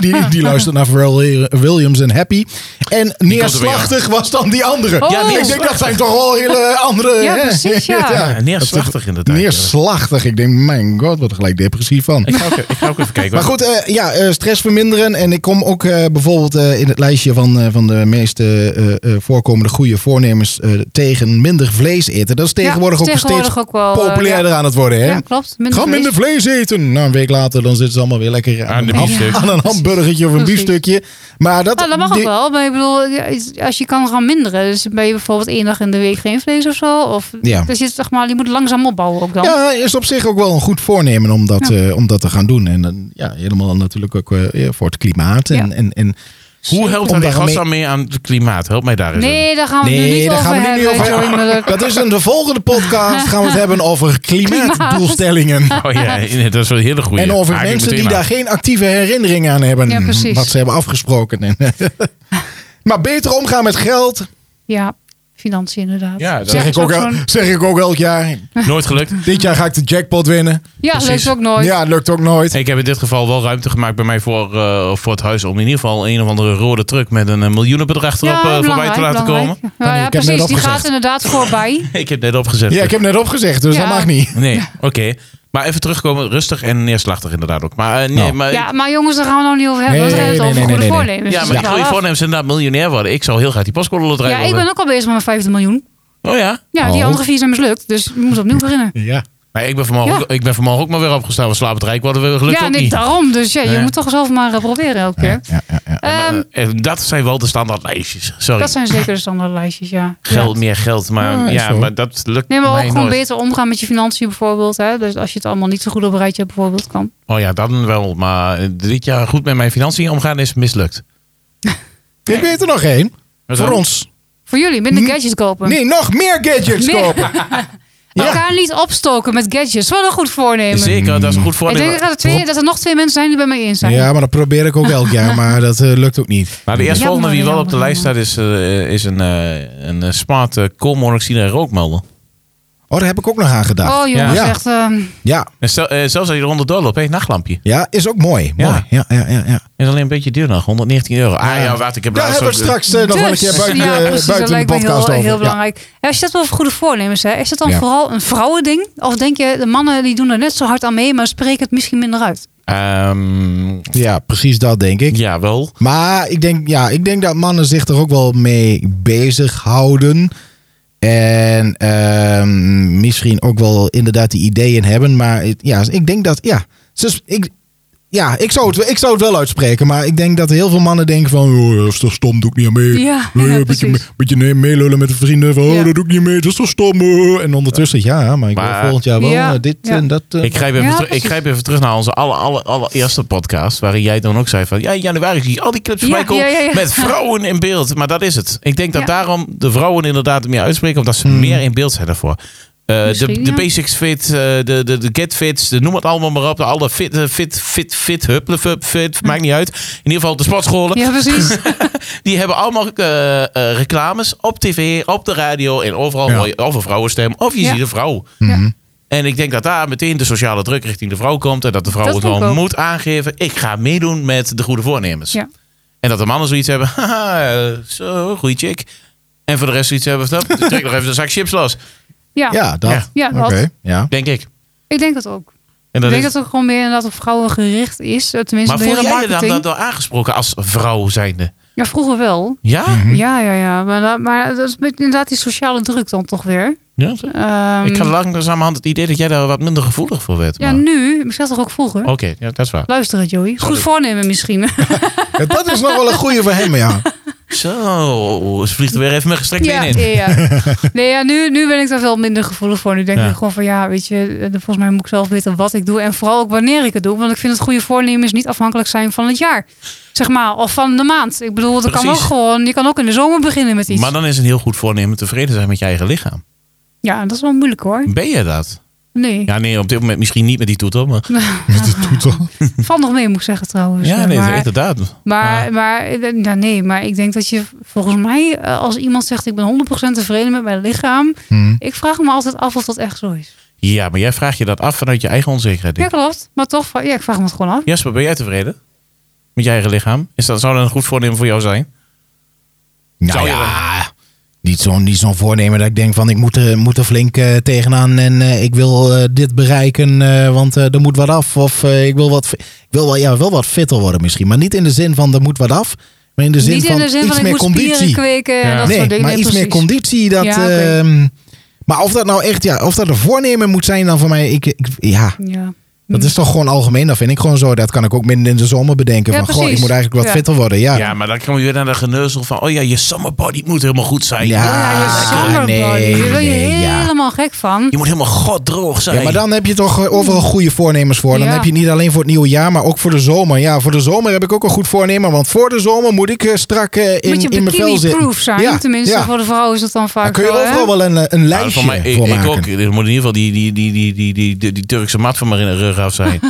S2: die, die luistert naar Pharrell Williams en Happy. En neerslachtig was dan die andere.
S1: Ja,
S2: ik denk, dat zijn toch wel hele andere...
S1: Oh. Ja,
S2: hè? [LAUGHS]
S1: precies, ja.
S3: Ja, Eh, neerslachtig inderdaad. ja.
S2: Neerslachtig. Ik denk, mijn god, wat gelijk depressief van.
S3: Ik ga, ook, ik ga ook even kijken.
S2: Maar goed, eh, ja, eh, stress verminderen. En ik kom ook eh, bijvoorbeeld eh, in het lijstje van, eh, van de meest eh, eh, eh, voorkomende goede voornemens eh, tegen minder vlees eten. Dat is tegenwoordig
S1: Ja,
S2: ook
S1: tegenwoordig
S2: steeds
S1: ook wel, eh,
S2: populairder aan het worden. Hè?
S1: Ja, klopt. Minder
S2: Ga minder vlees eten. Nou, een week later dan zitten ze allemaal weer lekker aan,
S3: Aan de
S2: een ham-
S3: biefstuk.
S2: [LAUGHS] aan een hamburgertje of een
S1: Precies.
S2: biefstukje. Maar dat,
S1: Nou, dat mag
S2: die-
S1: ook wel. Maar ik bedoel, ja, is- als je kan gaan minderen. Dus ben je bijvoorbeeld één dag in de week geen vlees of zo. Of,
S2: Ja.
S1: dus je, zeg maar, je moet langzaam opbouwen ook dan.
S2: Ja, is op zich ook wel een goed voornemen eh, om dat, eh, om dat te gaan doen. En dan, ja, helemaal natuurlijk ook eh, voor het klimaat. En,
S1: Ja.
S2: en, en
S3: Hoe helpt
S2: Om
S3: dat in
S2: daarmee-
S3: godsnaam mee aan het klimaat? Help mij daar eens over.
S1: Nee, daar gaan we het nu
S2: Nee,
S1: niet
S2: daar
S1: over
S2: gaan we nu
S1: hebben.
S2: niet over
S1: Johnny Mulder.
S2: Dat is in de volgende podcast. Gaan we het hebben over klimaatdoelstellingen.
S3: Oh ja, inderdaad, dat is wel een hele goede.
S2: En over mensen die daar geen actieve herinnering aan hebben.
S1: Ja, precies.
S2: Wat ze hebben afgesproken. En [LAUGHS] maar beter omgaan met geld,
S1: Ja, financiën inderdaad.
S3: Ja, dat
S2: zeg,
S1: is
S2: ik ook
S1: ook
S2: el-
S1: zo'n-
S2: zeg ik ook elk jaar.
S3: Nooit gelukt.
S2: Dit jaar ga ik de jackpot winnen.
S1: Ja,
S3: precies.
S1: lukt ook nooit.
S2: Ja, het lukt ook nooit.
S3: Ik heb in dit geval wel ruimte gemaakt bij mij voor, eh, voor het huis. Om in ieder geval een of andere rode truck met een eh, miljoenenbedrag erop
S1: Ja,
S3: eh, voorbij
S1: belangrijk,
S3: te laten
S1: belangrijk.
S3: komen.
S1: Ja, ja,
S2: Ik heb net
S1: precies. Die
S2: opgezegd.
S1: gaat
S2: [LAUGHS]
S1: inderdaad voorbij.
S3: Ik heb net opgezet.
S2: Ja, ik heb net opgezegd, dus
S1: Ja.
S2: dat mag niet.
S3: Nee, oké. Maar even terugkomen. Rustig en neerslachtig inderdaad ook. Maar eh, nee,
S2: Nou.
S3: maar...
S1: Ja, maar jongens, daar gaan we nou niet over hebben.
S2: Nee,
S1: want we hebben het
S2: nee,
S1: over
S2: nee,
S1: goede
S2: nee, nee, nee.
S1: voornemens.
S3: Ja,
S1: Dus
S3: maar die
S1: ja,
S3: goede
S1: laat-
S3: voornemens inderdaad miljonair worden. Ik zou heel graag die postcode loterij
S1: Ja, ik ben ook al bezig met mijn vijfde miljoen.
S3: Oh ja?
S1: Ja, die
S2: Oh.
S1: andere vier zijn mislukt. Dus we moeten opnieuw beginnen.
S2: Ja.
S3: Maar ik ben vanmorgen,
S1: Ja.
S3: ook, ik ben vanmorgen ook maar weer opgestaan. We slapen het rijk worden we gelukt
S1: ja,
S3: ook
S1: nee,
S3: niet.
S1: daarom. Dus ja, je
S3: Ja.
S1: moet toch zelf maar eh, proberen elke keer.
S2: Ja, ja, ja.
S1: Ehm,
S3: Eh, dat zijn wel de standaardlijstjes. Sorry.
S1: dat zijn zeker de standaardlijstjes, ja.
S3: Geld,
S1: Ja.
S3: meer geld. Maar
S2: Ja, is
S3: ja,
S2: zo.
S3: maar dat lukt
S1: Nee, maar ook
S3: mij
S1: gewoon
S3: nooit.
S1: beter omgaan met je financiën bijvoorbeeld. Hè? Dus als je het allemaal niet zo goed op een rijtje hebt bijvoorbeeld, kan.
S3: Oh ja, dan wel. Maar eh, dit jaar goed met mijn financiën omgaan is mislukt.
S2: Ik weet er nog één.
S3: Wat
S2: Voor
S3: dan?
S2: ons.
S1: Voor jullie, minder gadgets kopen.
S2: Nee, nog meer gadgets
S1: Meer- [LAUGHS]
S2: kopen. Ja.
S1: Elkaar niet opstoken met gadgets. Wat een goed voornemen.
S3: Zeker, dat is een goed
S1: Ik denk
S3: voornemen.
S1: dat er, twee, dat er nog twee mensen zijn die bij mij in zijn.
S2: Ja, maar dat probeer ik ook elk
S1: [LAUGHS]
S2: jaar, maar dat eh, lukt ook niet.
S3: Maar de eerstvolgende die
S1: Jammer,
S3: wel op de
S1: jammer,
S3: lijst staat is, eh, is een, eh, een eh, smart eh, koolmonoxide en rookmelder.
S2: Oh, daar heb ik ook nog aan gedaan.
S1: Oh jongens,
S2: Ja.
S1: echt. ehm,
S2: Ja,
S3: En stel, eh, zelfs als je er 100 dollar op heeft, nachtlampje.
S2: ja, is ook mooi.
S3: Ja.
S2: mooi. Ja, ja, ja, ja.
S3: Is alleen een beetje duur nog, 119 euro. Ah ja, wacht, ik heb
S2: Daar
S3: laatst
S2: hebben we
S3: ook-
S2: straks eh, nog wel een
S1: dus,
S2: keer buiten,
S1: ja,
S2: de-
S1: precies, dat
S2: buiten de
S1: lijkt me
S2: podcast
S1: heel,
S2: over.
S1: heel
S2: Ja.
S1: belangrijk. En Als je het wel over goede voornemens hè, is dat dan
S2: Ja.
S1: vooral een vrouwending? Of denk je, de mannen die doen er net zo hard aan mee, maar spreken het misschien minder uit?
S3: Ehm,
S2: Ja, precies dat denk ik.
S3: ja, wel.
S2: Maar ik denk, ja, ik denk dat mannen zich er ook wel mee bezighouden. En ehm, misschien ook wel inderdaad die ideeën hebben. Maar het- ja, ik denk dat, ja, ze- ik, ja ik, zou het, ik zou het wel uitspreken. Maar ik denk dat heel veel mannen denken van, oh, dat is toch stom, doe ik niet aan mee.
S1: Ja,
S2: Eh,
S1: ja,
S2: beetje,
S1: precies.
S2: me- beetje nee, meelullen met de vrienden van, oh,
S1: Ja.
S2: dat doe ik niet mee, dat is toch stom. eh. En ondertussen, ja, maar ik wil
S3: Maar-
S2: volgend jaar wel
S1: Ja,
S2: eh, dit
S1: ja.
S2: en dat. eh.
S3: Ik grijp, even
S1: Ja,
S3: terug, ik
S1: precies.
S3: grijp even terug naar onze alle, alle, allereerste podcast. Waarin jij dan ook zei van. Ja, in januari zie je al die clips
S1: Ja,
S3: voorbij komen.
S1: ja, ja, ja.
S3: Met vrouwen in beeld. Maar dat is het. Ik denk dat
S1: Ja.
S3: daarom de vrouwen inderdaad meer uitspreken. Omdat ze meer in beeld zijn daarvoor. Eh, de,
S1: Misschien,
S3: de
S1: ja.
S3: basics fit, eh, de, de, de get fits, de, noem het allemaal maar op. De alle fit, eh, fit, fit, fit, huppelen, fit, fit, maakt niet uit. In ieder geval de sportscholen.
S1: Hm. Ja, precies.
S3: Die hebben allemaal eh, eh, reclames op tv, op de radio en overal
S2: Ja.
S3: hoor je over vrouwenstem. Of je
S1: Ja.
S3: ziet een vrouw.
S1: Ja.
S3: En ik denk dat daar meteen de sociale druk richting de vrouw komt. En dat de vrouw
S1: Dat
S3: ook
S1: denk ik
S3: wel
S1: ook.
S3: moet aangeven. Ik ga meedoen met de goede voornemens.
S1: Ja.
S3: En dat de mannen zoiets hebben. [LAUGHS] Haha, eh, zo, goeie chick. En voor de rest zoiets hebben. van, "Nou, Trek nog even een zak chips los.
S1: Ja.
S2: ja, dat.
S3: Ja.
S1: Ja,
S2: Oké,
S1: dat.
S2: ja.
S3: Denk ik.
S1: ik denk dat ook.
S3: En dat
S1: ik denk
S3: is-
S1: dat het gewoon meer inderdaad op vrouwen gericht is. Eh, Tenminste,
S3: maar
S1: de hele
S3: voel jij je dan
S1: marketing.
S3: dat door aangesproken als vrouw zijnde?
S1: Ja, vroeger wel.
S3: Ja?
S1: Ja, ja, ja. Maar, dat- maar dat is met inderdaad die sociale druk dan toch weer.
S3: ja?
S1: Ehm,
S3: ik had langzamerhand het idee dat jij daar wat minder gevoelig voor werd.
S1: ja,
S3: maar- Oh.
S1: nu. Ik zeg toch ook vroeger.
S3: Oké, ja, dat is waar.
S1: Luister het, Joey. Goed voornemen misschien.
S2: Ja, Dat is nog wel een goede voor hem, ja.
S3: Zo, ze vliegt er weer even met
S1: [LAUGHS]
S3: gestrekt
S1: Ja,
S3: been in.
S1: ja,
S3: [LAUGHS]
S1: ja. Nee, ja, nu, nu ben ik daar wel minder gevoelig voor. Nu denk
S3: Ja.
S1: ik gewoon van ja, weet je, eh, volgens mij moet ik zelf weten wat ik doe. En vooral ook wanneer ik het doe. Want ik vind het goede voornemens niet afhankelijk zijn van het jaar. Zeg maar, of van de maand. Ik bedoel, dat kan ook
S3: Precies.
S1: gewoon, je kan ook in de zomer beginnen met iets.
S3: Maar dan is een heel goed voornemen tevreden zijn met je eigen lichaam.
S1: Ja, dat is wel moeilijk hoor.
S3: Ben je dat?
S1: Nee.
S3: Ja, nee, op dit moment misschien niet met die toetel, maar...
S1: Nou,
S2: [LAUGHS]
S1: Valt nog mee, moet ik zeggen trouwens.
S3: Ja,
S1: Eh,
S3: nee,
S1: maar,
S3: inderdaad.
S1: maar, maar, eh, ja, nee, maar ik denk dat je volgens mij, eh, als iemand zegt ik ben 100% tevreden met mijn lichaam.
S2: Hm.
S1: Ik vraag me altijd af of dat echt zo is.
S3: Ja, maar jij vraagt je dat af vanuit je eigen onzekerheid.
S1: Ja,
S3: denk ik.
S1: klopt. Maar toch, vra- ja, ik vraag me het gewoon af.
S3: Jasper, ben jij tevreden? Met je eigen lichaam? Is dat, zou dat een goed voornemen voor jou zijn?
S2: Nou
S3: Zou je
S2: ja, niet zo'n niet zo'n voornemen dat ik denk van ik moet, er- moet er flink eh, tegenaan en eh, ik wil eh, dit bereiken, eh, want eh, er moet wat af. Of eh, ik wil, wat, fi- ik wil wel, ja, wel wat fitter worden misschien, maar niet in de zin van er moet wat af, maar in de zin,
S1: Niet in
S2: van,
S1: de zin
S2: iets
S1: van ik
S2: meer
S1: moet
S2: conditie.
S1: spieren kweken
S3: Ja.
S1: en dat
S2: nee,
S1: soort dingen.
S2: maar
S1: Nee,
S2: iets meer
S1: precies.
S2: conditie. Dat,
S1: Ja, oké.
S2: ehm, maar of dat nou echt, ja, of dat een voornemen moet zijn dan voor mij, ik, ik- ja.
S1: Ja.
S2: Dat is toch gewoon algemeen, dat vind ik gewoon zo. Dat kan ik ook midden in de zomer bedenken.
S1: Ja,
S2: van, goh, ik
S1: precies.
S2: moet eigenlijk wat
S1: Ja.
S2: fitter worden. Ja,
S3: Ja, maar dan kom je weer naar de geneuzel van... Oh ja, je summer body moet helemaal goed zijn.
S1: Ja, je summer
S2: Ah, nee,
S1: body. Daar ben je
S2: nee, ja.
S1: helemaal gek van.
S3: Je moet helemaal goddroog zijn.
S2: Ja, maar dan heb je toch eh, overal goede voornemens voor. Dan
S1: Ja.
S2: heb je niet alleen voor het nieuwe jaar, maar ook voor de zomer. Ja, voor de zomer heb ik ook een goed voornemen. Want voor de zomer moet ik eh, strak eh, in,
S1: Moet je
S2: in mijn vel zitten.
S1: bikini-proof zijn.
S2: Ja,
S1: Tenminste,
S2: ja.
S1: voor de vrouw is dat dan vaak
S2: Daar kun je
S1: zo, hè?
S2: overal wel een, een
S3: Nou,
S2: lijstje
S3: voor mij, ik,
S2: voor
S3: ik
S2: maken. [LAUGHS]
S3: ook. Er moet in ieder geval die, die, die, die, die, die, die, die Turkse mat van maar in de rug
S1: [LAUGHS]
S3: af zijn.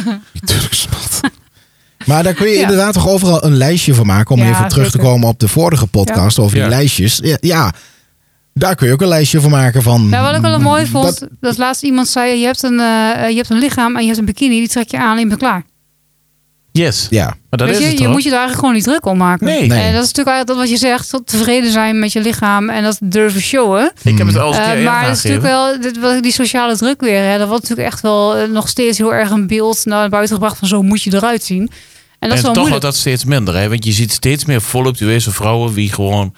S2: Maar daar kun je
S1: Ja.
S2: inderdaad toch overal een lijstje van maken. Om
S1: Ja,
S2: even terug te
S1: zeker.
S2: komen op de vorige podcast over die
S3: Ja.
S2: lijstjes. Ja, ja, daar kun je ook een lijstje van maken van...
S1: Nou, wat ik wel mooi vond,
S2: Hmm, dat-
S1: dat, laatst iemand zei... Je hebt, een, eh, je hebt een lichaam en je hebt een bikini, die trek je aan en je bent klaar.
S3: Yes.
S2: ja,
S3: Maar dat
S1: Weet
S3: is
S1: je,
S3: het
S1: je
S3: toch?
S1: moet je daar eigenlijk gewoon niet druk om maken.
S3: Nee.
S2: Nee.
S1: En dat is natuurlijk eigenlijk dat wat je zegt, dat tevreden zijn met je lichaam en dat durven showen.
S3: Ik heb het al eens een
S1: Eh,
S3: keer eerder
S1: maar het is
S3: aangegeven.
S1: natuurlijk wel dit, wel die sociale druk weer. Hè, dat wordt natuurlijk echt wel eh, nog steeds heel erg een beeld naar buiten gebracht van zo moet je eruit zien. En dat is wel
S3: en toch
S1: moeilijk.
S3: wordt dat steeds minder. Hè? Want je ziet steeds meer voluptueuze vrouwen die gewoon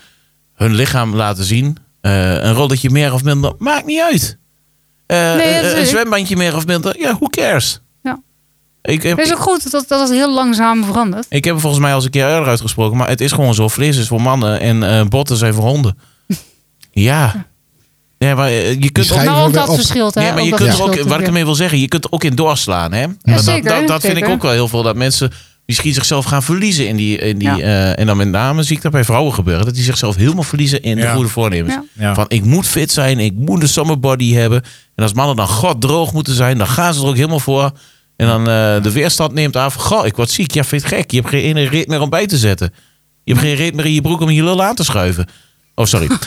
S3: hun lichaam laten zien. Eh, een rolletje meer of minder, maakt niet uit. Eh,
S1: Nee,
S3: een-
S1: dat
S3: een,
S1: weet ik.
S3: zwembandje meer of minder, ja, who cares?
S1: Ja.
S3: Ik, heb,
S1: Het is ook goed dat dat, dat het heel langzaam verandert.
S3: ik heb het volgens mij al eens een keer eerder uitgesproken. Maar het is gewoon zo. Vlees is voor mannen en eh, botten zijn voor
S1: [LAUGHS]
S3: honden. ja. Ja, maar eh, je kunt
S2: schijnen
S1: Maar
S2: Ga je
S3: ook...
S1: ook
S2: weer
S1: dat
S2: op.
S1: verschilt. Hè,
S3: Ja, maar je
S1: dat
S3: kunt er
S1: verschilt
S3: ook, wat ik
S1: natuurlijk.
S3: ermee wil zeggen, je kunt er ook in doorslaan. Hè? Maar dat-
S1: zeker,
S3: dat dat, vind
S1: zeker.
S3: ik ook wel heel veel. Dat mensen misschien zichzelf gaan verliezen in die. In die
S1: Ja.
S3: eh, en dan met name zie ik dat bij vrouwen gebeuren. Dat die zichzelf helemaal verliezen in de
S4: Ja.
S3: goede voornemens.
S1: Ja.
S4: Ja.
S3: Van ik moet fit zijn, ik moet een summer body hebben. En als mannen dan god droog moeten zijn, dan gaan ze er ook helemaal voor. En dan eh, de weerstand neemt af. Goh, ik word ziek. Ja, vind je het gek. Je hebt geen ene reet meer om bij te zetten. Je hebt geen reet meer in je broek om je lul aan te schuiven. Oh,
S1: [LAUGHS]
S3: sorry. Hoe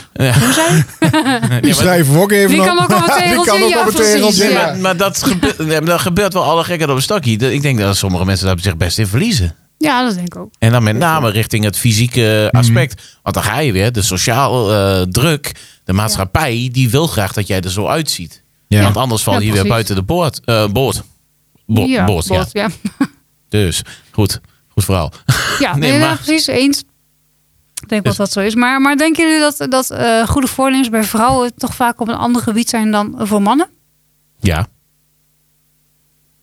S2: die schrijven we ook even
S1: Die
S2: op.
S1: kan ook op het
S2: [LAUGHS] Die
S1: tegeltje,
S2: kan ook
S1: ja,
S2: op het
S1: precies,
S2: tegeltje,
S1: ja.
S3: maar, maar dat, gebeurt, [LAUGHS] nee, maar dat gebeurt wel alle gekken op een stakje. Dat- Ik denk dat sommige mensen daar zich best in verliezen.
S1: Ja, dat denk ik ook.
S3: En dan met name richting het fysieke
S2: Mhm.
S3: aspect. Want dan ga je weer, de sociaal eh, druk, de maatschappij, die wil graag dat jij er zo uitziet.
S2: Ja.
S3: Want anders val
S1: Ja,
S3: je weer
S1: precies.
S3: buiten de boord. eh boord. Bo-
S1: ja,
S3: boord, ja.
S1: bot, ja.
S3: Dus, goed. Goed verhaal. [LAUGHS]
S1: Ja,
S3: Nee,
S1: nee, ja,
S3: maar-
S1: precies. Eens. Ik denk
S2: Dus-
S1: dat dat zo is. Maar, maar denken jullie dat, dat eh, goede voornemens bij vrouwen toch vaak op een ander gebied zijn dan voor mannen?
S3: Ja.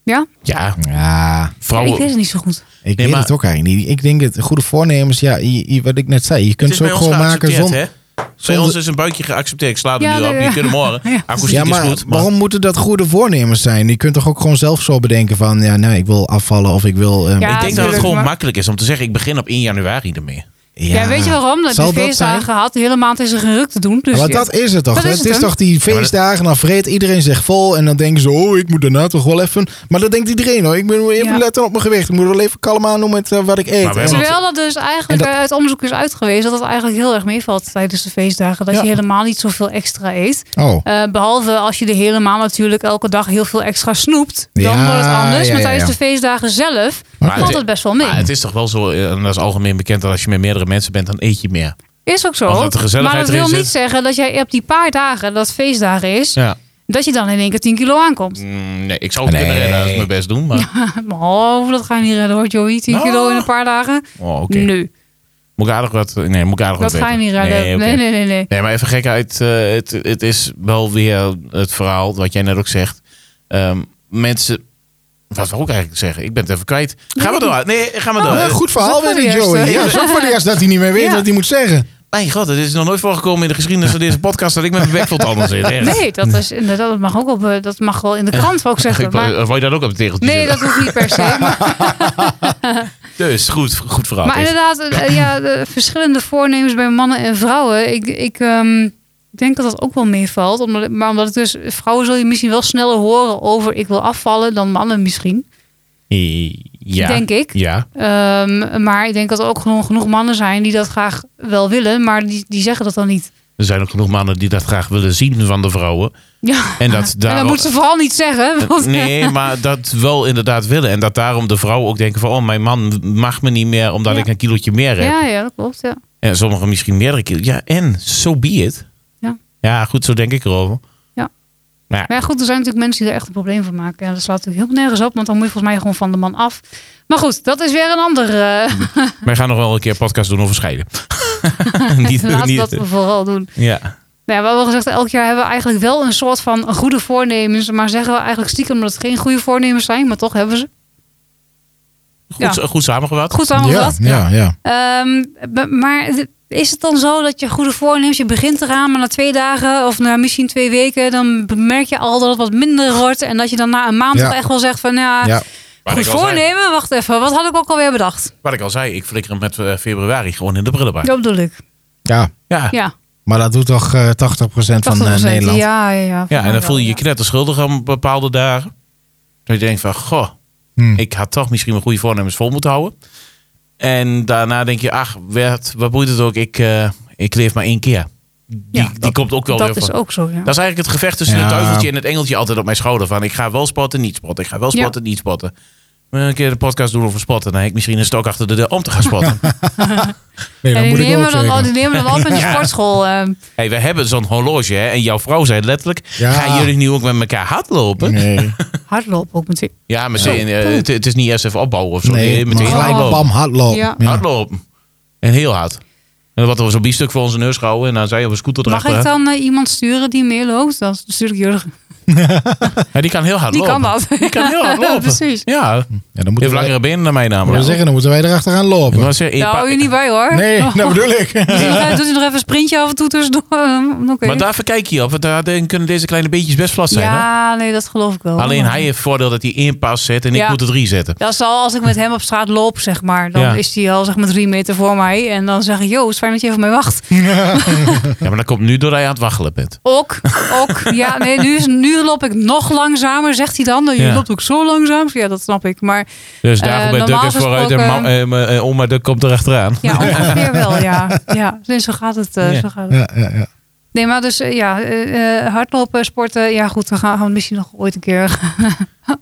S1: Ja?
S3: Ja.
S2: Ja,
S1: Ik weet
S3: Vrouwen.
S1: het niet zo goed.
S2: ik
S3: Nee,
S2: weet
S3: maar-
S2: het ook eigenlijk niet. Ik denk dat goede voornemens, ja, je- je- wat ik net zei, je
S3: Het
S2: kunt
S3: is
S2: ze
S3: bij
S2: ook
S3: ons
S2: gewoon maken
S3: geaccepteerd,
S2: zonder...
S3: hè? Bij
S2: zonder-
S3: ons is een buikje geaccepteerd. Ik sla er
S1: Ja,
S3: nu
S1: nee,
S3: op. Je
S1: ja.
S3: kunt hem horen.
S1: [LAUGHS] Ja,
S3: Akoestiek
S2: Ja, maar,
S3: is goed. Maar
S2: waarom moeten dat goede voornemens zijn? Je kunt toch ook gewoon zelf zo bedenken van... ja, nou, ik wil afvallen of ik wil... ehm,
S1: Ja,
S3: ik denk dat het
S1: tuurlijk,
S3: gewoon
S1: maar-
S3: makkelijk is om te zeggen... ik begin op 1 januari ermee.
S1: Ja, weet je waarom? Dat
S2: Zal
S1: de
S2: dat
S1: feestdagen
S2: zijn?
S1: gehad, de hele maand is er geruk te doen. Dus
S2: Ja, maar
S1: ja.
S2: dat is het toch?
S1: Dat
S2: Het
S1: is
S2: is,
S1: het, hè?
S2: toch die
S3: maar dat-
S2: feestdagen, dan vreet iedereen zich vol... en dan denken ze, oh, ik moet daarna toch wel even... Maar dat denkt iedereen hoor. Ik moet even
S1: Ja.
S2: letten op mijn gewicht. Ik moet wel even kalm aan doen met eh, wat ik eet.
S3: Maar we
S2: En-
S3: hebben-
S1: Terwijl dat dus eigenlijk
S2: En dat-
S1: eh, uit onderzoek is uitgewezen dat het eigenlijk heel erg meevalt tijdens de feestdagen. Dat
S2: Ja.
S1: je helemaal niet zoveel extra eet.
S2: Oh,
S1: Eh, behalve als je de hele maand natuurlijk elke dag heel veel extra snoept. Dan
S2: Ja,
S1: wordt het anders.
S2: ja,
S1: maar
S2: ja,
S1: tijdens
S2: ja.
S1: de feestdagen zelf
S2: Maar
S1: valt
S3: het-
S1: het best wel mee.
S3: Maar het is toch wel zo, eh, en dat is algemeen bekend, dat als je met meerdere mensen bent, dan eet je meer.
S1: Is ook zo.
S3: Als dat de gezelligheid
S1: maar dat
S3: erin
S1: wil
S3: zit.
S1: niet zeggen dat jij op die paar dagen dat feestdagen is,
S3: Ja.
S1: dat je dan in één keer 10 kilo aankomt.
S3: Mm, nee, ik zou het
S2: Nee.
S3: kunnen redden als ik mijn best doen, maar...
S1: [LAUGHS] Oh, dat ga je niet redden hoor, Joey. 10 kilo in een paar dagen.
S3: Oh, Ah. oké.
S1: Nu,
S3: Moet ik aardig wat... Nee, moet ik aardig
S1: dat
S3: wat
S1: ga je
S3: weten.
S1: niet redden.
S3: Nee,
S1: Nee,
S3: oké.
S1: nee, nee, nee.
S3: Nee, maar even gek uit. eh, het, het is wel weer het verhaal wat jij net ook zegt. Ehm, mensen... Wat we ook eigenlijk zeggen. Ik ben het even kwijt. Gaan we door. Nee, gaan we
S1: Oh,
S3: door.
S2: Ja, goed verhaal
S1: Zo voor
S2: weer,
S1: de eerste.
S2: Joey. Ja, zo voor de eerste dat hij niet meer weet
S1: Ja.
S2: wat hij moet zeggen.
S3: Mijn god, het is nog nooit voorgekomen in de geschiedenis van deze podcast dat ik met mijn bek vol tanden zit. Echt.
S1: Nee, dat,
S3: [LAUGHS]
S1: is, inderdaad, dat, mag ook op, eh, dat mag wel in de krant ook
S3: Ik
S1: zeggen.
S3: wou-
S1: Maar,
S3: wou je dat ook op het tegeltje
S1: nee,
S3: zetten?
S1: dat hoeft niet per
S3: [LAUGHS]
S1: se. Maar,
S3: Dus, goed, goed verhaal. Dus-
S1: maar
S3: Kees.
S1: inderdaad, eh, ja, de verschillende voornemens bij mannen en vrouwen. Ik, ik ehm, denk dat dat ook wel meevalt. Omdat, maar omdat het dus, vrouwen zul je misschien wel sneller horen over ik wil afvallen dan mannen misschien.
S3: Ja.
S1: Denk ik.
S3: Ja.
S1: Ehm, maar ik denk dat er ook gewoon genoeg mannen zijn die dat graag wel willen, maar die, die zeggen dat dan niet.
S3: Er zijn ook genoeg mannen die dat graag willen zien van de vrouwen.
S1: Ja.
S3: En dat
S1: en
S3: daar-
S1: dat moeten ze vooral niet zeggen. Want,
S3: Eh, Nee, maar dat wel inderdaad willen. En dat daarom de vrouwen ook denken van... oh, mijn man mag me niet meer omdat
S1: Ja.
S3: ik een kilootje meer heb.
S1: Ja, ja, dat klopt. Ja.
S3: En sommigen misschien meerdere kilo. Ja, en so be it.
S1: Ja.
S3: ja, goed, zo denk ik erover.
S1: Ja.
S3: Maar ja,
S1: Maar ja, goed, er zijn natuurlijk mensen die er echt een probleem van maken. Ja, dat slaat natuurlijk helemaal nergens op, want dan moet je volgens mij gewoon van de man af. Maar goed, dat is weer een
S3: [LAUGHS]
S1: ander. eh, [LAUGHS]
S3: wij gaan nog wel een keer een podcast doen over scheiden. niet,
S1: laten we
S3: niet,
S1: dat vooral doen.
S3: ja.
S1: Nee, Nou, ja, we hebben wel gezegd, elk jaar hebben we eigenlijk wel een soort van goede voornemens. Maar zeggen we eigenlijk stiekem dat het geen goede voornemens zijn. Maar toch hebben we ze.
S3: Goed, goed samengevat.
S1: Goed samengevat.
S2: ja, ja, ja.
S1: Ehm, b- maar d- is het dan zo dat je goede voornemens, je begint eraan, maar na twee dagen of na misschien twee weken, dan merk je al dat het wat minder wordt. En dat je dan na een maand
S2: Ja.
S1: toch echt wel zegt van, ja,
S2: ja.
S3: Waar
S1: goed
S3: ik, al zei,
S1: voornemen, wacht even, wat had ik ook alweer bedacht?
S3: waar ik al zei, ik flikker hem met eh, februari gewoon in de prullenbak.
S1: Dat bedoel ik,
S2: Ja,
S3: Ja. ja.
S1: ja.
S2: maar dat doet toch eh, 80% van eh,
S1: 80%,
S2: Nederland.
S1: Ja, ja, ja.
S3: en dan voel je je knetterschuldig aan bepaalde dagen. Dat je denkt van, goh,
S2: Hm.
S3: ik had toch misschien mijn goede voornemens vol moeten houden. En daarna denk je, ach, werd, wat boeit het ook, ik, eh, ik leef maar één keer. Die,
S1: Ja,
S3: die
S1: dat-
S3: komt ook wel weer
S1: Dat
S3: van.
S1: is ook zo, ja.
S3: Dat is eigenlijk het gevecht tussen
S2: Ja.
S3: het duiveltje en het engeltje altijd op mijn schouder. Van ik ga wel spotten, niet spotten. Ik ga wel
S1: Ja.
S3: spotten, niet spotten. Maar een keer de podcast doen over spotten. Dan heb ik misschien een stok achter de deur om te gaan
S2: [LAUGHS]
S3: spotten.
S2: Nee, dat
S1: en
S2: moet
S1: die
S2: ik ook
S1: nemen, dan, al-
S2: zeggen.
S1: die nemen dan wel
S3: [LAUGHS]
S1: op in de sportschool. ehm.
S3: hey, we hebben zo'n horloge hè. En jouw vrouw zei letterlijk.
S2: Ja.
S3: Gaan jullie nu ook met elkaar hardlopen? [LAUGHS]
S2: Nee,
S1: hardlopen ook meteen.
S3: Ja, meteen. eh, het, het is niet eerst even opbouwen of zo. Nee,
S2: nee, maar
S3: meteen
S2: gelijk
S3: hardlopen.
S2: bam, hardlopen.
S1: Ja.
S3: Hardlopen. En heel hard. En dan wat we zo'n biefstuk voor onze neus gehouden. En dan zei je op een scooter
S1: Mag
S3: erachter.
S1: ik dan eh, iemand sturen die meeloopt? Dan stuur ik Jurgen.
S3: Ja, die kan heel hard
S1: Die
S3: lopen.
S1: kan dat.
S3: Die kan heel hard
S1: [LAUGHS]
S3: lopen.
S1: Precies.
S3: Ja,
S2: Ja, dan moeten
S3: heeft
S2: we,
S3: langere benen dan mij
S2: moeten we
S3: namelijk.
S2: zeggen, dan moeten wij erachteraan
S3: Ik
S2: lopen.
S3: wou zeggen, in
S1: Daar
S3: pa-
S1: hou je Nou, niet bij hoor.
S2: Nee, dat bedoel ik.
S1: Ja, doet hij nog even een sprintje af en toe tussendoor? [LAUGHS] Ehm, Oké.
S3: Maar daar verkijk je op. Want daar kunnen deze kleine beetjes best vast zijn. hoor.
S1: ja, nee, dat geloof ik wel.
S3: Alleen hij heeft voordeel dat hij één pas zet en ik
S1: Ja.
S3: moet er drie zetten.
S1: Dat zal als ik met hem op straat loop, zeg maar. Dan
S3: Ja.
S1: is hij al zeg maar drie meter voor mij. En dan zeg ik, joh, het is fijn dat je even op mij
S3: [LAUGHS]
S1: wacht.
S3: Ja, maar dat komt nu doordat hij aan het waggelen bent.
S1: Ook, ook. Ja, nee, nu, is, nu loop ik nog langzamer, zegt hij dan. Nou, Je
S3: Ja.
S1: loopt ook zo langzaam. Ja, dat snap ik. Maar
S3: Dus
S1: Eh,
S3: daarom bij Duk
S1: normaal
S3: is vooruit en ma-
S1: gesproken-
S3: eh, ma- eh, oma Duk komt erachteraan. [LAUGHS]
S1: ja, ongeveer wel, ja. ja. Nee, zo gaat het. eh,
S3: Ja.
S1: Zo gaat het.
S2: Ja, ja, ja.
S1: Nee, maar dus eh, ja, eh, eh, hardlopen, sporten. Ja, goed, dan gaan we misschien nog ooit een keer... [LAUGHS]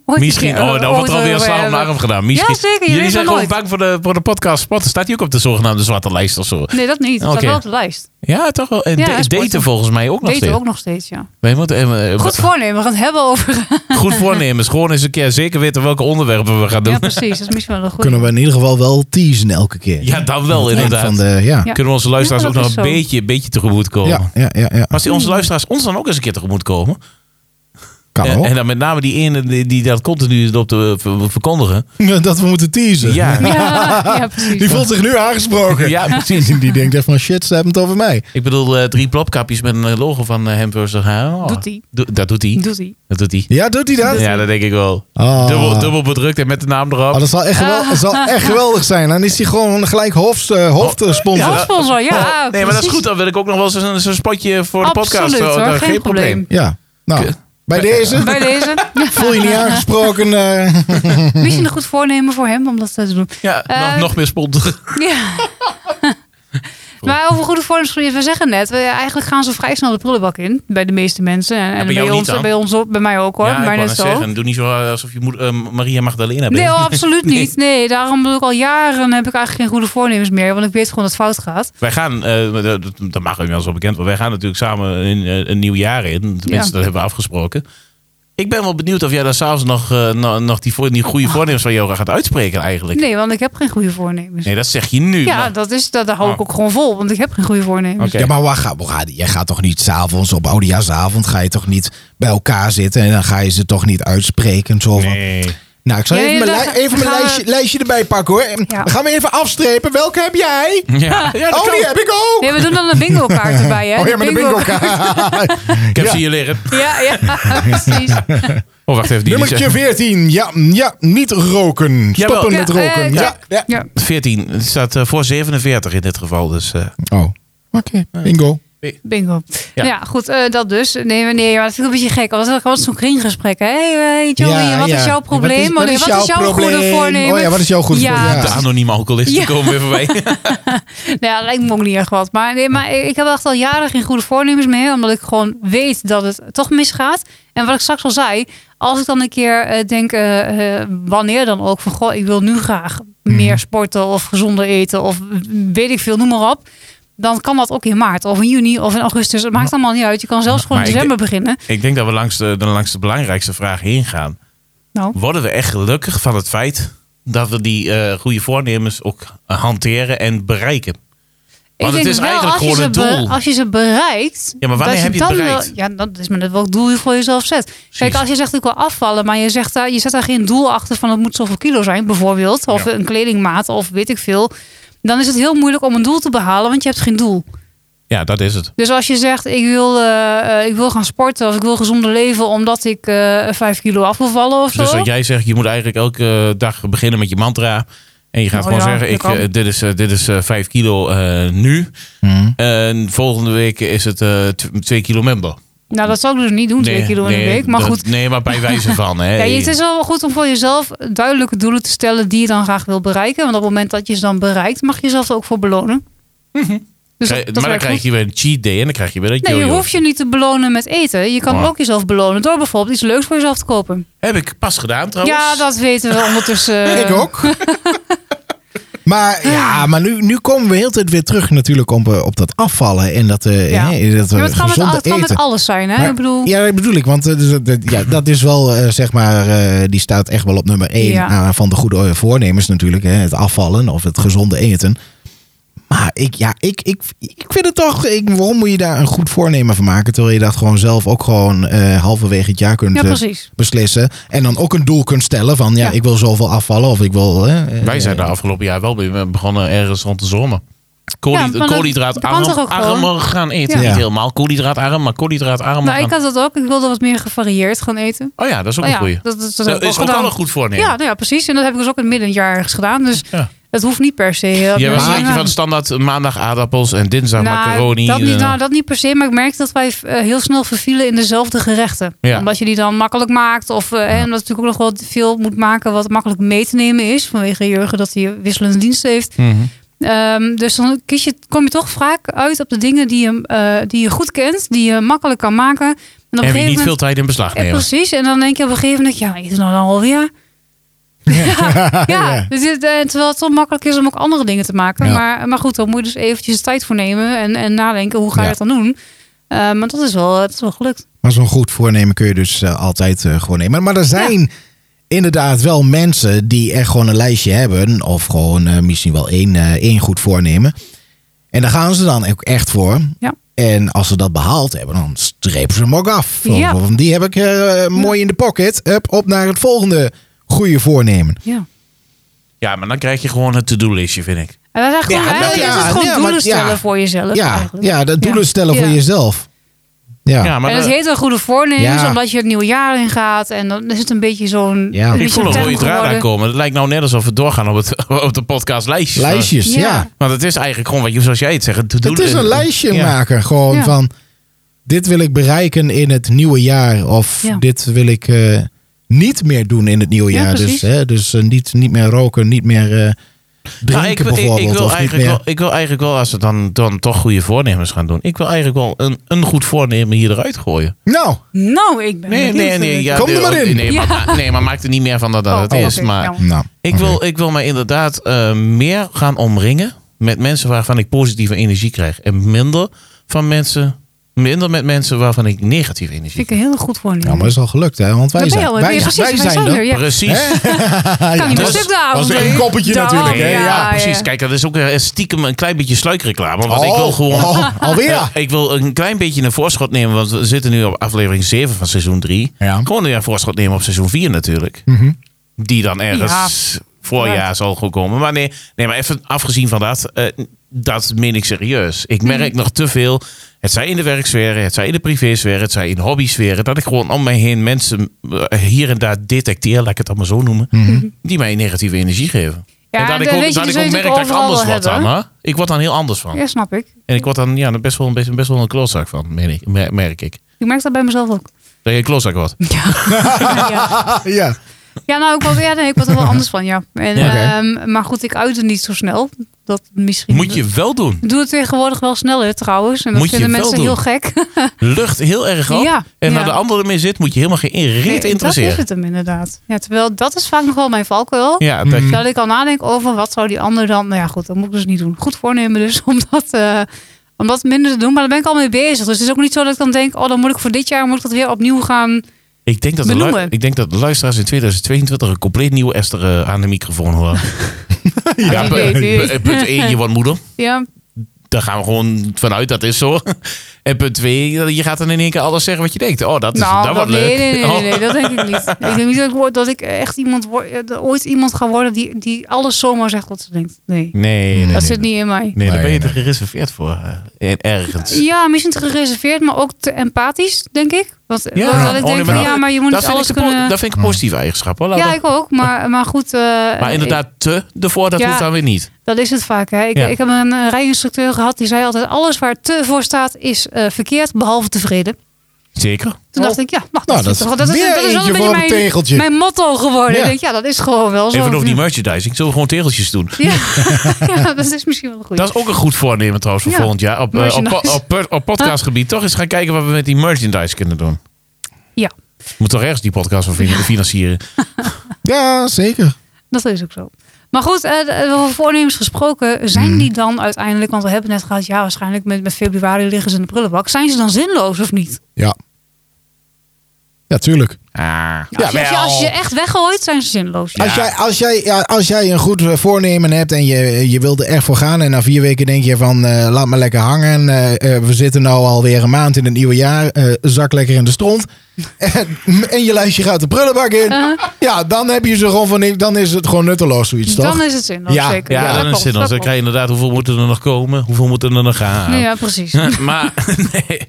S1: ooit een
S3: Misschien,
S1: keer,
S3: oh,
S1: eh,
S3: dan wordt
S1: ooit
S3: er alweer een
S1: over
S3: slaan om de
S1: hebben.
S3: arm gedaan. Misschien.
S1: Ja, zeker, je weet
S3: Jullie
S1: het
S3: zijn
S1: nooit.
S3: gewoon bang voor de, voor de podcast spotten. Staat hij ook op de zogenaamde zwarte lijst of zo?
S1: Nee, dat niet. Dat
S3: Oké.
S1: staat wel op de lijst.
S3: Ja, toch wel. En
S1: Ja,
S3: da-
S1: sporten.
S3: daten volgens mij ook nog
S1: Weten
S3: steeds.
S1: we ook nog steeds, ja.
S3: Wij moeten, eh, eh,
S1: Goed voornemen, we gaan het hebben over...
S3: goed voornemens. Gewoon eens een keer zeker weten welke onderwerpen we gaan doen.
S1: Ja,
S3: Ja,
S1: precies. Dat is misschien wel een goed.
S2: Kunnen we in ieder geval wel teasen elke keer.
S3: dan wel
S2: Eind
S3: inderdaad.
S2: Van de, ja.
S1: Ja.
S3: Kunnen we onze luisteraars
S1: Ja,
S3: ook
S1: dat
S3: nog
S1: is
S3: een
S1: zo.
S3: beetje, beetje tegemoet komen.
S2: Ja, ja, ja, ja.
S3: Maar als die onze luisteraars ons dan ook eens een keer tegemoet komen.
S2: Kan
S3: En,
S2: hoor. [LAUGHS]
S3: en dan met name die ene die, die dat continu op te eh, ver- verkondigen.
S2: dat we moeten teasen. [LAUGHS]
S3: Ja,
S1: Ja, ja, precies.
S2: Die voelt zich nu aangesproken.
S3: ja, precies.
S2: [LAUGHS] Die denkt echt van shit, ze hebben het over mij.
S3: Ik bedoel, eh, drie plopkapjes met een eh, logo van eh, hem versus haar. Oh,
S1: Doet hij.
S3: doe- dat doet hij.
S1: Doet hij.
S3: Dat doet hij.
S2: Ja, doet hij dat?
S3: Ja, dat denk ik wel.
S2: Ah.
S3: Dubbel, dubbel bedrukt en met de naam erop.
S2: Oh, dat zal echt, gewel-
S1: Ah.
S2: dat zal echt geweldig zijn. Dan is hij gewoon gelijk hoofd, eh, hoofdsponsor.
S3: Oh. Ja.
S1: Hoofdsponsor, ja.
S3: Oh. nee, maar dat is
S1: precies.
S3: goed. Dan wil ik ook nog wel eens een, zo'n spotje voor de podcast.
S1: Absoluut,
S3: Zo,
S1: hoor.
S3: daar-
S1: Geen probleem.
S2: Ja, nou, bij deze
S3: eh,
S1: Bij
S3: [LAUGHS]
S1: deze. [LAUGHS]
S2: voel je niet aangesproken. eh,
S1: Misschien een goed voornemen voor hem om dat te doen.
S3: Ja,
S1: Eh,
S3: nog, nog meer sponsoren.
S1: Ja. [LAUGHS] Maar over goede voornemens, we zeggen net, we, eigenlijk gaan ze vrij snel de prullenbak in. Bij de meeste mensen. En, en
S3: bij jou
S1: ons,
S3: niet dan?
S1: bij ons ook, bij mij ook hoor.
S3: ja,
S1: maar
S3: ik wou
S1: net
S3: net
S1: zo.
S3: zeggen. Doe niet zo eh, alsof je moet, eh, Maria Magdalena bent.
S1: Nee, oh,
S3: [LAUGHS]
S1: absoluut niet. Nee, daarom doe ik al jaren heb ik eigenlijk geen goede voornemens meer. Want ik weet gewoon dat het fout gaat.
S3: Wij gaan, eh, dat, dat- dat mag inmiddels wel bekend worden, wij gaan natuurlijk samen een, eh, een nieuw jaar in. Tenminste,
S1: Ja.
S3: dat hebben we afgesproken. Ik ben wel benieuwd of jij daar s'avonds nog, eh, no- nog die, voor, die goede voornemens van yoga gaat uitspreken eigenlijk. Nee,
S1: Nee, want ik heb geen goede voornemens.
S3: dat zeg je nu.
S1: Ja,
S3: maar-
S1: dat, is, dat, daar hou ik
S3: Oh.
S1: ook gewoon vol, want ik heb geen goede voornemens.
S3: Oké.
S2: Ja, maar waar ga, waar ga- jij gaat toch niet s'avonds op oudejaarsavond ga je toch niet bij elkaar zitten en dan ga je ze toch niet uitspreken. Zo van,
S3: nee.
S2: nou, ik zal
S1: Ja,
S2: even
S1: ja,
S2: mijn,
S1: dan
S2: lij-
S1: ga-
S2: even mijn
S1: gaan we-
S2: lijstje, lijstje erbij pakken hoor. En
S1: Ja.
S2: Dan gaan we even afstrepen. Welke heb jij?
S3: Ja, ja, dat
S2: oh,
S3: kan.
S2: die heb ik ook.
S1: Nee, we doen dan een bingo kaart erbij. Hè?
S2: [LAUGHS] oh ja, maar de bingo kaart.
S3: Ik heb
S2: Ja.
S3: ze hier liggen.
S1: [LAUGHS] Ja,
S2: [LAUGHS]
S1: ja, precies.
S3: Oh, wacht even. Die die
S2: Nummertje 14. Ja, ja, niet roken.
S3: Jawel.
S2: Stoppen
S1: Ja,
S2: met
S1: eh,
S2: roken.
S1: ja.
S2: ja. ja.
S1: Ja.
S3: 14. Het staat eh, voor 47 in dit geval. Dus, eh,
S2: Oh, oké. Bingo.
S1: Bingo.
S3: Ja.
S1: Ja, goed, eh, dat dus. Nee, maar nee, maar dat vind ik een beetje gek. Want dat was zo'n kringgesprek. Hé, hey, eh, hey, Joey,
S2: Ja,
S1: wat
S2: ja.
S1: is jouw probleem?
S2: Wat is,
S1: Oh, nee,
S2: jouw,
S1: goede
S2: probleem?
S1: voornemen?
S2: Oh ja, wat is jouw goede
S1: Ja.
S2: voornemen?
S3: De anonieme alcoholisten
S1: Ja.
S3: komen weer
S1: [LAUGHS]
S3: voorbij.
S1: Nou ja, dat lijkt me ook niet erg wat. Maar, nee, maar ik heb echt al jaren geen goede voornemens meer. Omdat ik gewoon weet dat het toch misgaat. En wat ik straks al zei. Als ik dan een keer eh, denk, eh, eh, wanneer dan ook. Van goh, ik wil nu graag
S3: Mhm.
S1: meer sporten of gezonder eten. Of weet ik veel, noem maar op. Dan kan dat ook in maart of in juni of in augustus. Het maakt allemaal niet uit. Je kan zelfs gewoon in
S3: Maar ik
S1: december beginnen.
S3: ik denk dat we langs de, de- langs de belangrijkste vraag heen gaan.
S1: Nou,
S3: Worden we echt gelukkig van het feit dat we die eh, goede voornemens ook hanteren en bereiken? Want het
S1: denk
S3: is
S1: wel,
S3: eigenlijk
S1: als je
S3: gewoon
S1: ze
S3: het
S1: be-
S3: doel.
S1: als je ze bereikt...
S3: Ja, maar wanneer
S1: dat
S3: heb je het
S1: dan
S3: bereikt?
S1: wel- ja, dat is maar net welk doel je voor jezelf zet. Kijk, als je zegt ik wil afvallen, maar je, zegt, daar- je zet daar geen doel achter van het moet zoveel kilo zijn bijvoorbeeld. Of
S3: Ja.
S1: een kledingmaat of weet ik veel. Dan is het heel moeilijk om een doel te behalen, want je hebt geen doel.
S3: Ja, dat is het.
S1: Dus als je zegt ik wil, eh, eh, ik wil gaan sporten of ik wil gezonder leven omdat ik eh, vijf kilo af wil vallen of zo.
S3: Dus wat jij zegt, je moet eigenlijk elke dag beginnen met je mantra. En je gaat
S1: Oh
S3: gewoon
S1: ja,
S3: zeggen,
S1: dat
S3: ik,
S1: kan.
S3: eh, dit is, eh, dit is eh 5 kilo eh, nu.
S2: Hmm.
S3: En volgende week is het eh, tw- 2 kilo member.
S1: Nou, dat zou ik dus niet doen, twee kilo in de week. Maar
S3: dat-
S1: goed,
S3: Nee, maar bij wijze
S1: [LAUGHS]
S3: van. Hè.
S1: Ja, het is wel goed om voor jezelf duidelijke doelen te stellen die je dan graag wil bereiken. Want op het moment dat je ze dan bereikt, mag je jezelf er ook voor belonen.
S2: Mhm.
S1: Dus
S3: Krijg-
S1: dat, dat
S3: maar dan
S1: werkt
S3: krijg
S1: goed.
S3: je weer een cheat day en dan krijg je weer een
S1: Nee, je
S3: yo-yo.
S1: hoeft je niet te belonen met eten. Je kan
S3: Maar-
S1: ook jezelf belonen door bijvoorbeeld iets leuks voor jezelf te kopen.
S3: Heb ik pas gedaan trouwens.
S1: Ja, dat weten we ondertussen.
S2: [LAUGHS] Ik ook. maar ja, maar nu, nu komen we heel de tijd weer terug natuurlijk op, eh, op dat afvallen en dat, eh
S1: Ja.
S2: hè, dat we
S1: Ja, maar het kan, met, al-
S2: gezonde
S1: het kan met
S2: eten.
S1: alles zijn, hè?
S2: Maar-
S1: ik bedoel,
S2: Ja, dat bedoel ik, want eh, dus, dat-
S1: [LAUGHS]
S2: ja, dat is wel, eh, zeg maar, eh, die staat echt wel op nummer 1
S1: Ja.
S2: van de goede eh, voornemens natuurlijk. Hè, het afvallen of het gezonde eten. Maar ik, ja, ik, ik, ik vind het toch, ik, waarom moet je daar een goed voornemen van maken? Terwijl je dat gewoon zelf ook gewoon eh, halverwege het jaar kunt
S1: ja
S2: eh,
S1: precies.
S2: beslissen. En dan ook een doel kunt stellen van, ja,
S1: Ja.
S2: ik wil zoveel afvallen of ik wil... eh, eh, [LAUGHS]
S3: Wij zijn de afgelopen jaar wel weer begonnen ergens rond de zomer. Koolhyd-
S1: Ja, maar dat- dat kan toch
S3: koolhydraatarm
S1: ook gewoon?
S3: armer gaan eten.
S2: Ja.
S3: Niet helemaal koolhydraatarm, maar koolhydraatarm.
S1: Nou, ik
S3: gaan-
S1: had dat ook. Ik wilde wat meer gevarieerd gaan eten.
S3: Oh ja, dat is ook
S1: Nou
S3: een
S1: ja,
S3: goeie.
S1: dat, dat, dat heb
S3: Dat
S1: ik ook
S3: is ook
S1: gedaan.
S3: wel een goed voornemen.
S1: Ja, nou ja, precies. En dat heb ik dus ook in het middenjaar ergens gedaan. Dus
S3: Ja.
S1: het hoeft niet per se. eh, op mijn
S3: Jij was een
S2: maar-
S3: beetje
S1: agenda.
S3: van standaard maandag aardappels en dinsdag
S1: Nou,
S3: macaroni.
S1: Dat niet,
S3: eh,
S1: nou, dat niet per se, maar ik merkte dat wij eh, heel snel vervielen in dezelfde gerechten.
S3: Ja.
S1: Omdat je die dan makkelijk maakt. Of eh, en omdat je natuurlijk ook nog wel veel moet maken wat makkelijk mee te nemen is. Vanwege Jurgen dat hij wisselende dienst heeft.
S3: mhm.
S1: Ehm, dus dan kies je, kom je toch vaak uit op de dingen die je, eh, die je goed kent. Die je makkelijk kan maken. En, op een
S3: En
S1: gegeven
S3: wie niet
S1: moment-
S3: veel tijd in beslag
S1: eh,
S3: nemen.
S1: precies. En dan denk je op een gegeven moment, ja, is het nou dan alweer? [LAUGHS] Ja, ja. Dus dit, eh, terwijl het toch makkelijk is om ook andere dingen te maken.
S2: Ja.
S1: Maar, maar goed, dan moet je dus eventjes de tijd voor nemen en, en nadenken hoe ga je
S2: Ja.
S1: dat dan doen. Eh, maar dat is wel, dat is wel gelukt.
S2: Maar zo'n goed voornemen kun je dus eh, altijd eh, gewoon nemen. Maar er zijn inderdaad wel mensen die echt gewoon een lijstje hebben. Of gewoon eh, misschien wel één, eh, één goed voornemen. En daar gaan ze dan ook echt voor.
S1: Ja.
S2: En als ze dat behaald hebben, dan strepen ze hem ook af. Van,
S1: Ja.
S2: van, die heb ik eh, mooi in de pocket. Hup, op naar het volgende goede voornemen.
S1: Ja.
S3: Ja, maar dan krijg je gewoon het to-do-listje, vind ik.
S1: En dat is eigenlijk
S2: Ja,
S1: gewoon,
S2: dat-
S1: eigenlijk
S2: ja,
S1: is het gewoon
S2: ja,
S1: doelen
S2: want- ja.
S1: stellen voor jezelf.
S2: Ja,
S1: eigenlijk.
S2: ja, dat doelen
S1: Ja.
S2: stellen voor
S1: Ja.
S2: jezelf. Ja,
S3: Ja, maar
S1: en het
S3: dan-
S1: heet wel goede voornemens,
S2: Ja.
S1: omdat je het nieuwe jaar in gaat. En dan is het een beetje zo'n...
S2: Ja.
S1: een
S3: ik
S1: beetje
S3: voel
S1: zo'n
S3: een rode
S1: term
S3: draad
S1: geworden.
S3: aankomen. Het lijkt nou net alsof we doorgaan op, het, [LAUGHS] op de podcastlijstjes.
S2: lijstjes,
S1: Ja.
S2: ja.
S3: Want het is eigenlijk gewoon, wat je- zoals jij het zegt, een to-do
S2: Het is een lijstje
S3: Ja.
S2: maken. Gewoon
S1: Ja.
S2: van, dit wil ik bereiken in het nieuwe jaar. Of
S1: Ja.
S2: dit wil ik eh, niet meer doen in het nieuwe
S1: Ja,
S2: jaar. Dus,
S1: precies.
S2: hè, dus eh, niet, niet meer roken, niet meer eh, drinken
S3: Nou, ik, wil- ik,
S2: bijvoorbeeld.
S3: ik, wil
S2: of niet
S3: eigenlijk
S2: meer...
S3: wel, ik wil eigenlijk wel, als we dan, dan toch goede voornemens gaan doen. Ik wil eigenlijk wel een, een goed voornemen hier eruit gooien.
S2: Nou,
S1: Nou, ik ben
S3: Nee, nee,
S1: benieuwd.
S3: nee. Ja,
S2: Kom er
S3: nee,
S2: maar in.
S3: Nee, maar, nee, maar maak er niet meer van dat dat
S1: Oh,
S3: het
S1: oh,
S3: is.
S1: oké,
S3: maar
S1: ja.
S2: nou
S3: ik, wil, ik wil mij inderdaad eh, meer gaan omringen met mensen waarvan ik positieve energie krijg. En minder van mensen, minder met mensen waarvan ik negatieve energie
S1: Vind ik een heel goed voornemen.
S2: ja, maar is al gelukt, hè? Want
S1: Dan
S2: wij
S1: ben je
S2: zijn,
S1: al- ben
S2: wij,
S1: je
S2: wij
S1: precies, wij
S2: zijn
S1: zijn
S2: er.
S1: er,
S2: [LAUGHS]
S3: krijg.
S1: ja.
S3: Precies.
S1: Kan niet
S3: dat
S1: meer
S3: was-
S1: stuk daar.
S2: was
S1: want-
S2: één koppetje
S1: Daarom,
S2: natuurlijk, hè?
S3: Nee, ja,
S1: Oh, ja,
S3: precies. Kijk, dat is ook eh, stiekem een klein beetje sluikreclame. Want ik wil gewoon
S2: oh,
S3: [LAUGHS]
S2: alweer.
S3: Eh, Ik wil een klein beetje een voorschot nemen, want we zitten nu op aflevering 7 van seizoen 3.
S2: Ja.
S3: Gewoon weer een voorschot nemen op seizoen 4 natuurlijk.
S2: Mhm.
S3: Die dan ergens voorjaar zal gaan komen. Maar nee, nee, maar even afgezien van dat, eh, dat meen ik serieus. Ik
S1: Mhm.
S3: merk nog te veel, het zij in de werksfeer, het zij in de privésfeer, het zij in de hobbysfeer, dat ik gewoon om mij heen mensen eh, hier en daar detecteer, laat ik het allemaal zo noemen,
S2: Mhm.
S3: die mij negatieve energie geven.
S1: Ja,
S3: en dat
S1: en
S3: ik
S1: dat
S3: ook,
S1: weet je,
S3: dat
S1: die
S3: ik ook
S1: zul je
S3: merk dat ik
S1: natuurlijk
S3: anders
S1: overal
S3: word
S1: wel
S3: dan. Hè? Ik word dan heel anders van.
S1: Ja, snap ik.
S3: En ik word dan ja, best, wel een, best, best wel een klootzak van, meen ik, mer- merk ik.
S1: Ik merk dat bij mezelf
S3: [LAUGHS]
S1: ook.
S3: Dat je een klootzak wordt.
S1: ja.
S2: Ja.
S1: Ja, nou, ik word, ja, nee, ik word er
S3: [LAUGHS]
S1: wel anders van, ja. En,
S2: Ja. Oké.
S1: ehm, maar goed, ik uit het niet zo snel. Dat misschien...
S3: [LAUGHS] Moet je wel doen.
S1: Ik doe het tegenwoordig wel sneller trouwens. En dat
S3: Moet je
S1: vinden
S3: wel
S1: mensen
S3: doen.
S1: heel gek.
S3: Lucht heel erg op.
S1: Ja,
S3: en
S1: ja.
S3: waar de ander ermee zit, moet je helemaal geen reet
S1: [LAUGHS] dat is
S3: interesseren.
S1: het hem inderdaad. Ja, terwijl dat is vaak nog wel mijn valkuil.
S3: Ja, dat,
S1: Dat ik al nadenk over wat zou die ander dan... Nou ja, goed, dat moet ik dus niet doen. Goed voornemen dus [LAUGHS] om dat, eh, om dat minder te doen. Maar daar ben ik al mee bezig. Dus het is ook niet zo dat ik dan denk... Oh, dan moet ik voor dit jaar moet ik dat weer opnieuw gaan...
S3: ik, denk dat de lu-
S1: Benoemen.
S3: ik denk dat de luisteraars in 2022 een compleet nieuwe
S1: [LAUGHS]
S3: Esther eh, aan de microfoon horen. ja,
S1: Wie weet, wie weet.
S3: pu- pu- punt 1, je wordt moeder.
S1: Ja,
S3: daar gaan we gewoon vanuit, dat is zo. [LAUGHS] En punt twee, je gaat dan in één keer alles zeggen wat je denkt. Oh, dat is
S1: nou, dat-
S3: dat wordt
S1: nee,
S3: leuk.
S1: nee, nee,
S3: Oh.
S1: nee, nee, dat denk ik
S3: [LAUGHS]
S1: niet. Ik denk niet dat ik, word- dat ik echt iemand word- eh, ooit iemand ga worden die, die alles zomaar zegt wat ze denkt. Nee,
S3: Nee, nee,
S1: dat
S3: nee,
S1: zit niet in mij.
S3: Nee, daar
S2: Nee,
S3: ben je
S2: nee.
S3: er gereserveerd voor. eh, En ergens.
S1: Ja, misschien te gereserveerd, maar ook te empathisch, denk ik. Want,
S3: Ja.
S1: want dat ik
S3: Oh, nee,
S1: denk
S3: maar
S1: van,
S3: dat-
S1: ja, maar je moet
S3: dat,
S1: niet
S3: vind
S1: alles
S3: ik een po-
S1: kunnen...
S3: dat vind ik een positieve eigenschap. Hoor. Laten
S1: Ja,
S3: we-
S1: ik ook, maar, maar goed... eh,
S3: maar inderdaad, te ervoor, dat
S1: Ja.
S3: hoeft dan weer niet.
S1: Dat is het vaak. Hè? Ik,
S3: Ja.
S1: ik heb een eh, rijinstructeur gehad die zei altijd: alles waar te voor staat is eh, verkeerd, behalve tevreden.
S3: Zeker.
S1: Toen
S2: Oh.
S1: dacht ik, ja, mag
S2: Nou,
S1: dat,
S2: dat is
S1: is toch- dat is,
S2: weer
S1: dat is wel
S2: eentje
S1: een
S2: voor
S1: beetje
S2: het
S1: mijn,
S2: tegeltje.
S1: mijn motto geworden.
S2: Ja.
S1: Ik denk, ja, dat is gewoon wel zo.
S3: Even over die merchandising. Zullen we gewoon tegeltjes doen?
S1: ja. [LAUGHS] ja, dat is misschien wel een goede.
S3: Dat is ook een goed voornemen trouwens voor
S1: Ja.
S3: volgend jaar. Op, eh, op, po-
S1: Merchandise.
S3: op, per- op podcastgebied. Toch eens gaan kijken wat we met die merchandise kunnen doen.
S1: Ja,
S3: Moet toch ergens die podcast van fin- financieren.
S2: Ja, zeker.
S1: dat is ook zo. Maar goed, eh, d- eh, over voornemens gesproken,
S3: Hmm.
S1: zijn die dan uiteindelijk, want we hebben net gehad, ja, waarschijnlijk met, met februari liggen ze in de prullenbak. Zijn ze dan zinloos of niet?
S2: Ja. Ja, tuurlijk.
S3: Ah.
S1: Als je, als je,
S3: Jawel.
S1: als je echt weggooit, zijn ze zinloos.
S2: Als, jij, als, jij, ja, als jij een goed eh, voornemen hebt en je, je wilt er echt voor gaan... en na vier weken denk je van eh, laat me lekker hangen... eh, eh, we zitten nou alweer een maand in het nieuwe jaar... eh, zak lekker in de stront... [LAUGHS] en, en je lijstje gaat de prullenbak in... ja, dan heb je ze gewoon van... nee, dan is het gewoon nutteloos zoiets, toch?
S1: Uh-huh. Dan is het zinloos,
S2: Ja,
S1: zeker.
S3: Ja,
S2: Ja,
S1: dat
S3: dan is het
S1: klopt,
S3: zinloos.
S1: dat
S3: Dan
S1: klopt.
S3: krijg je inderdaad hoeveel moeten er nog komen? Hoeveel moeten er nog gaan?
S1: Ja, precies.
S3: maar [LAUGHS] nee.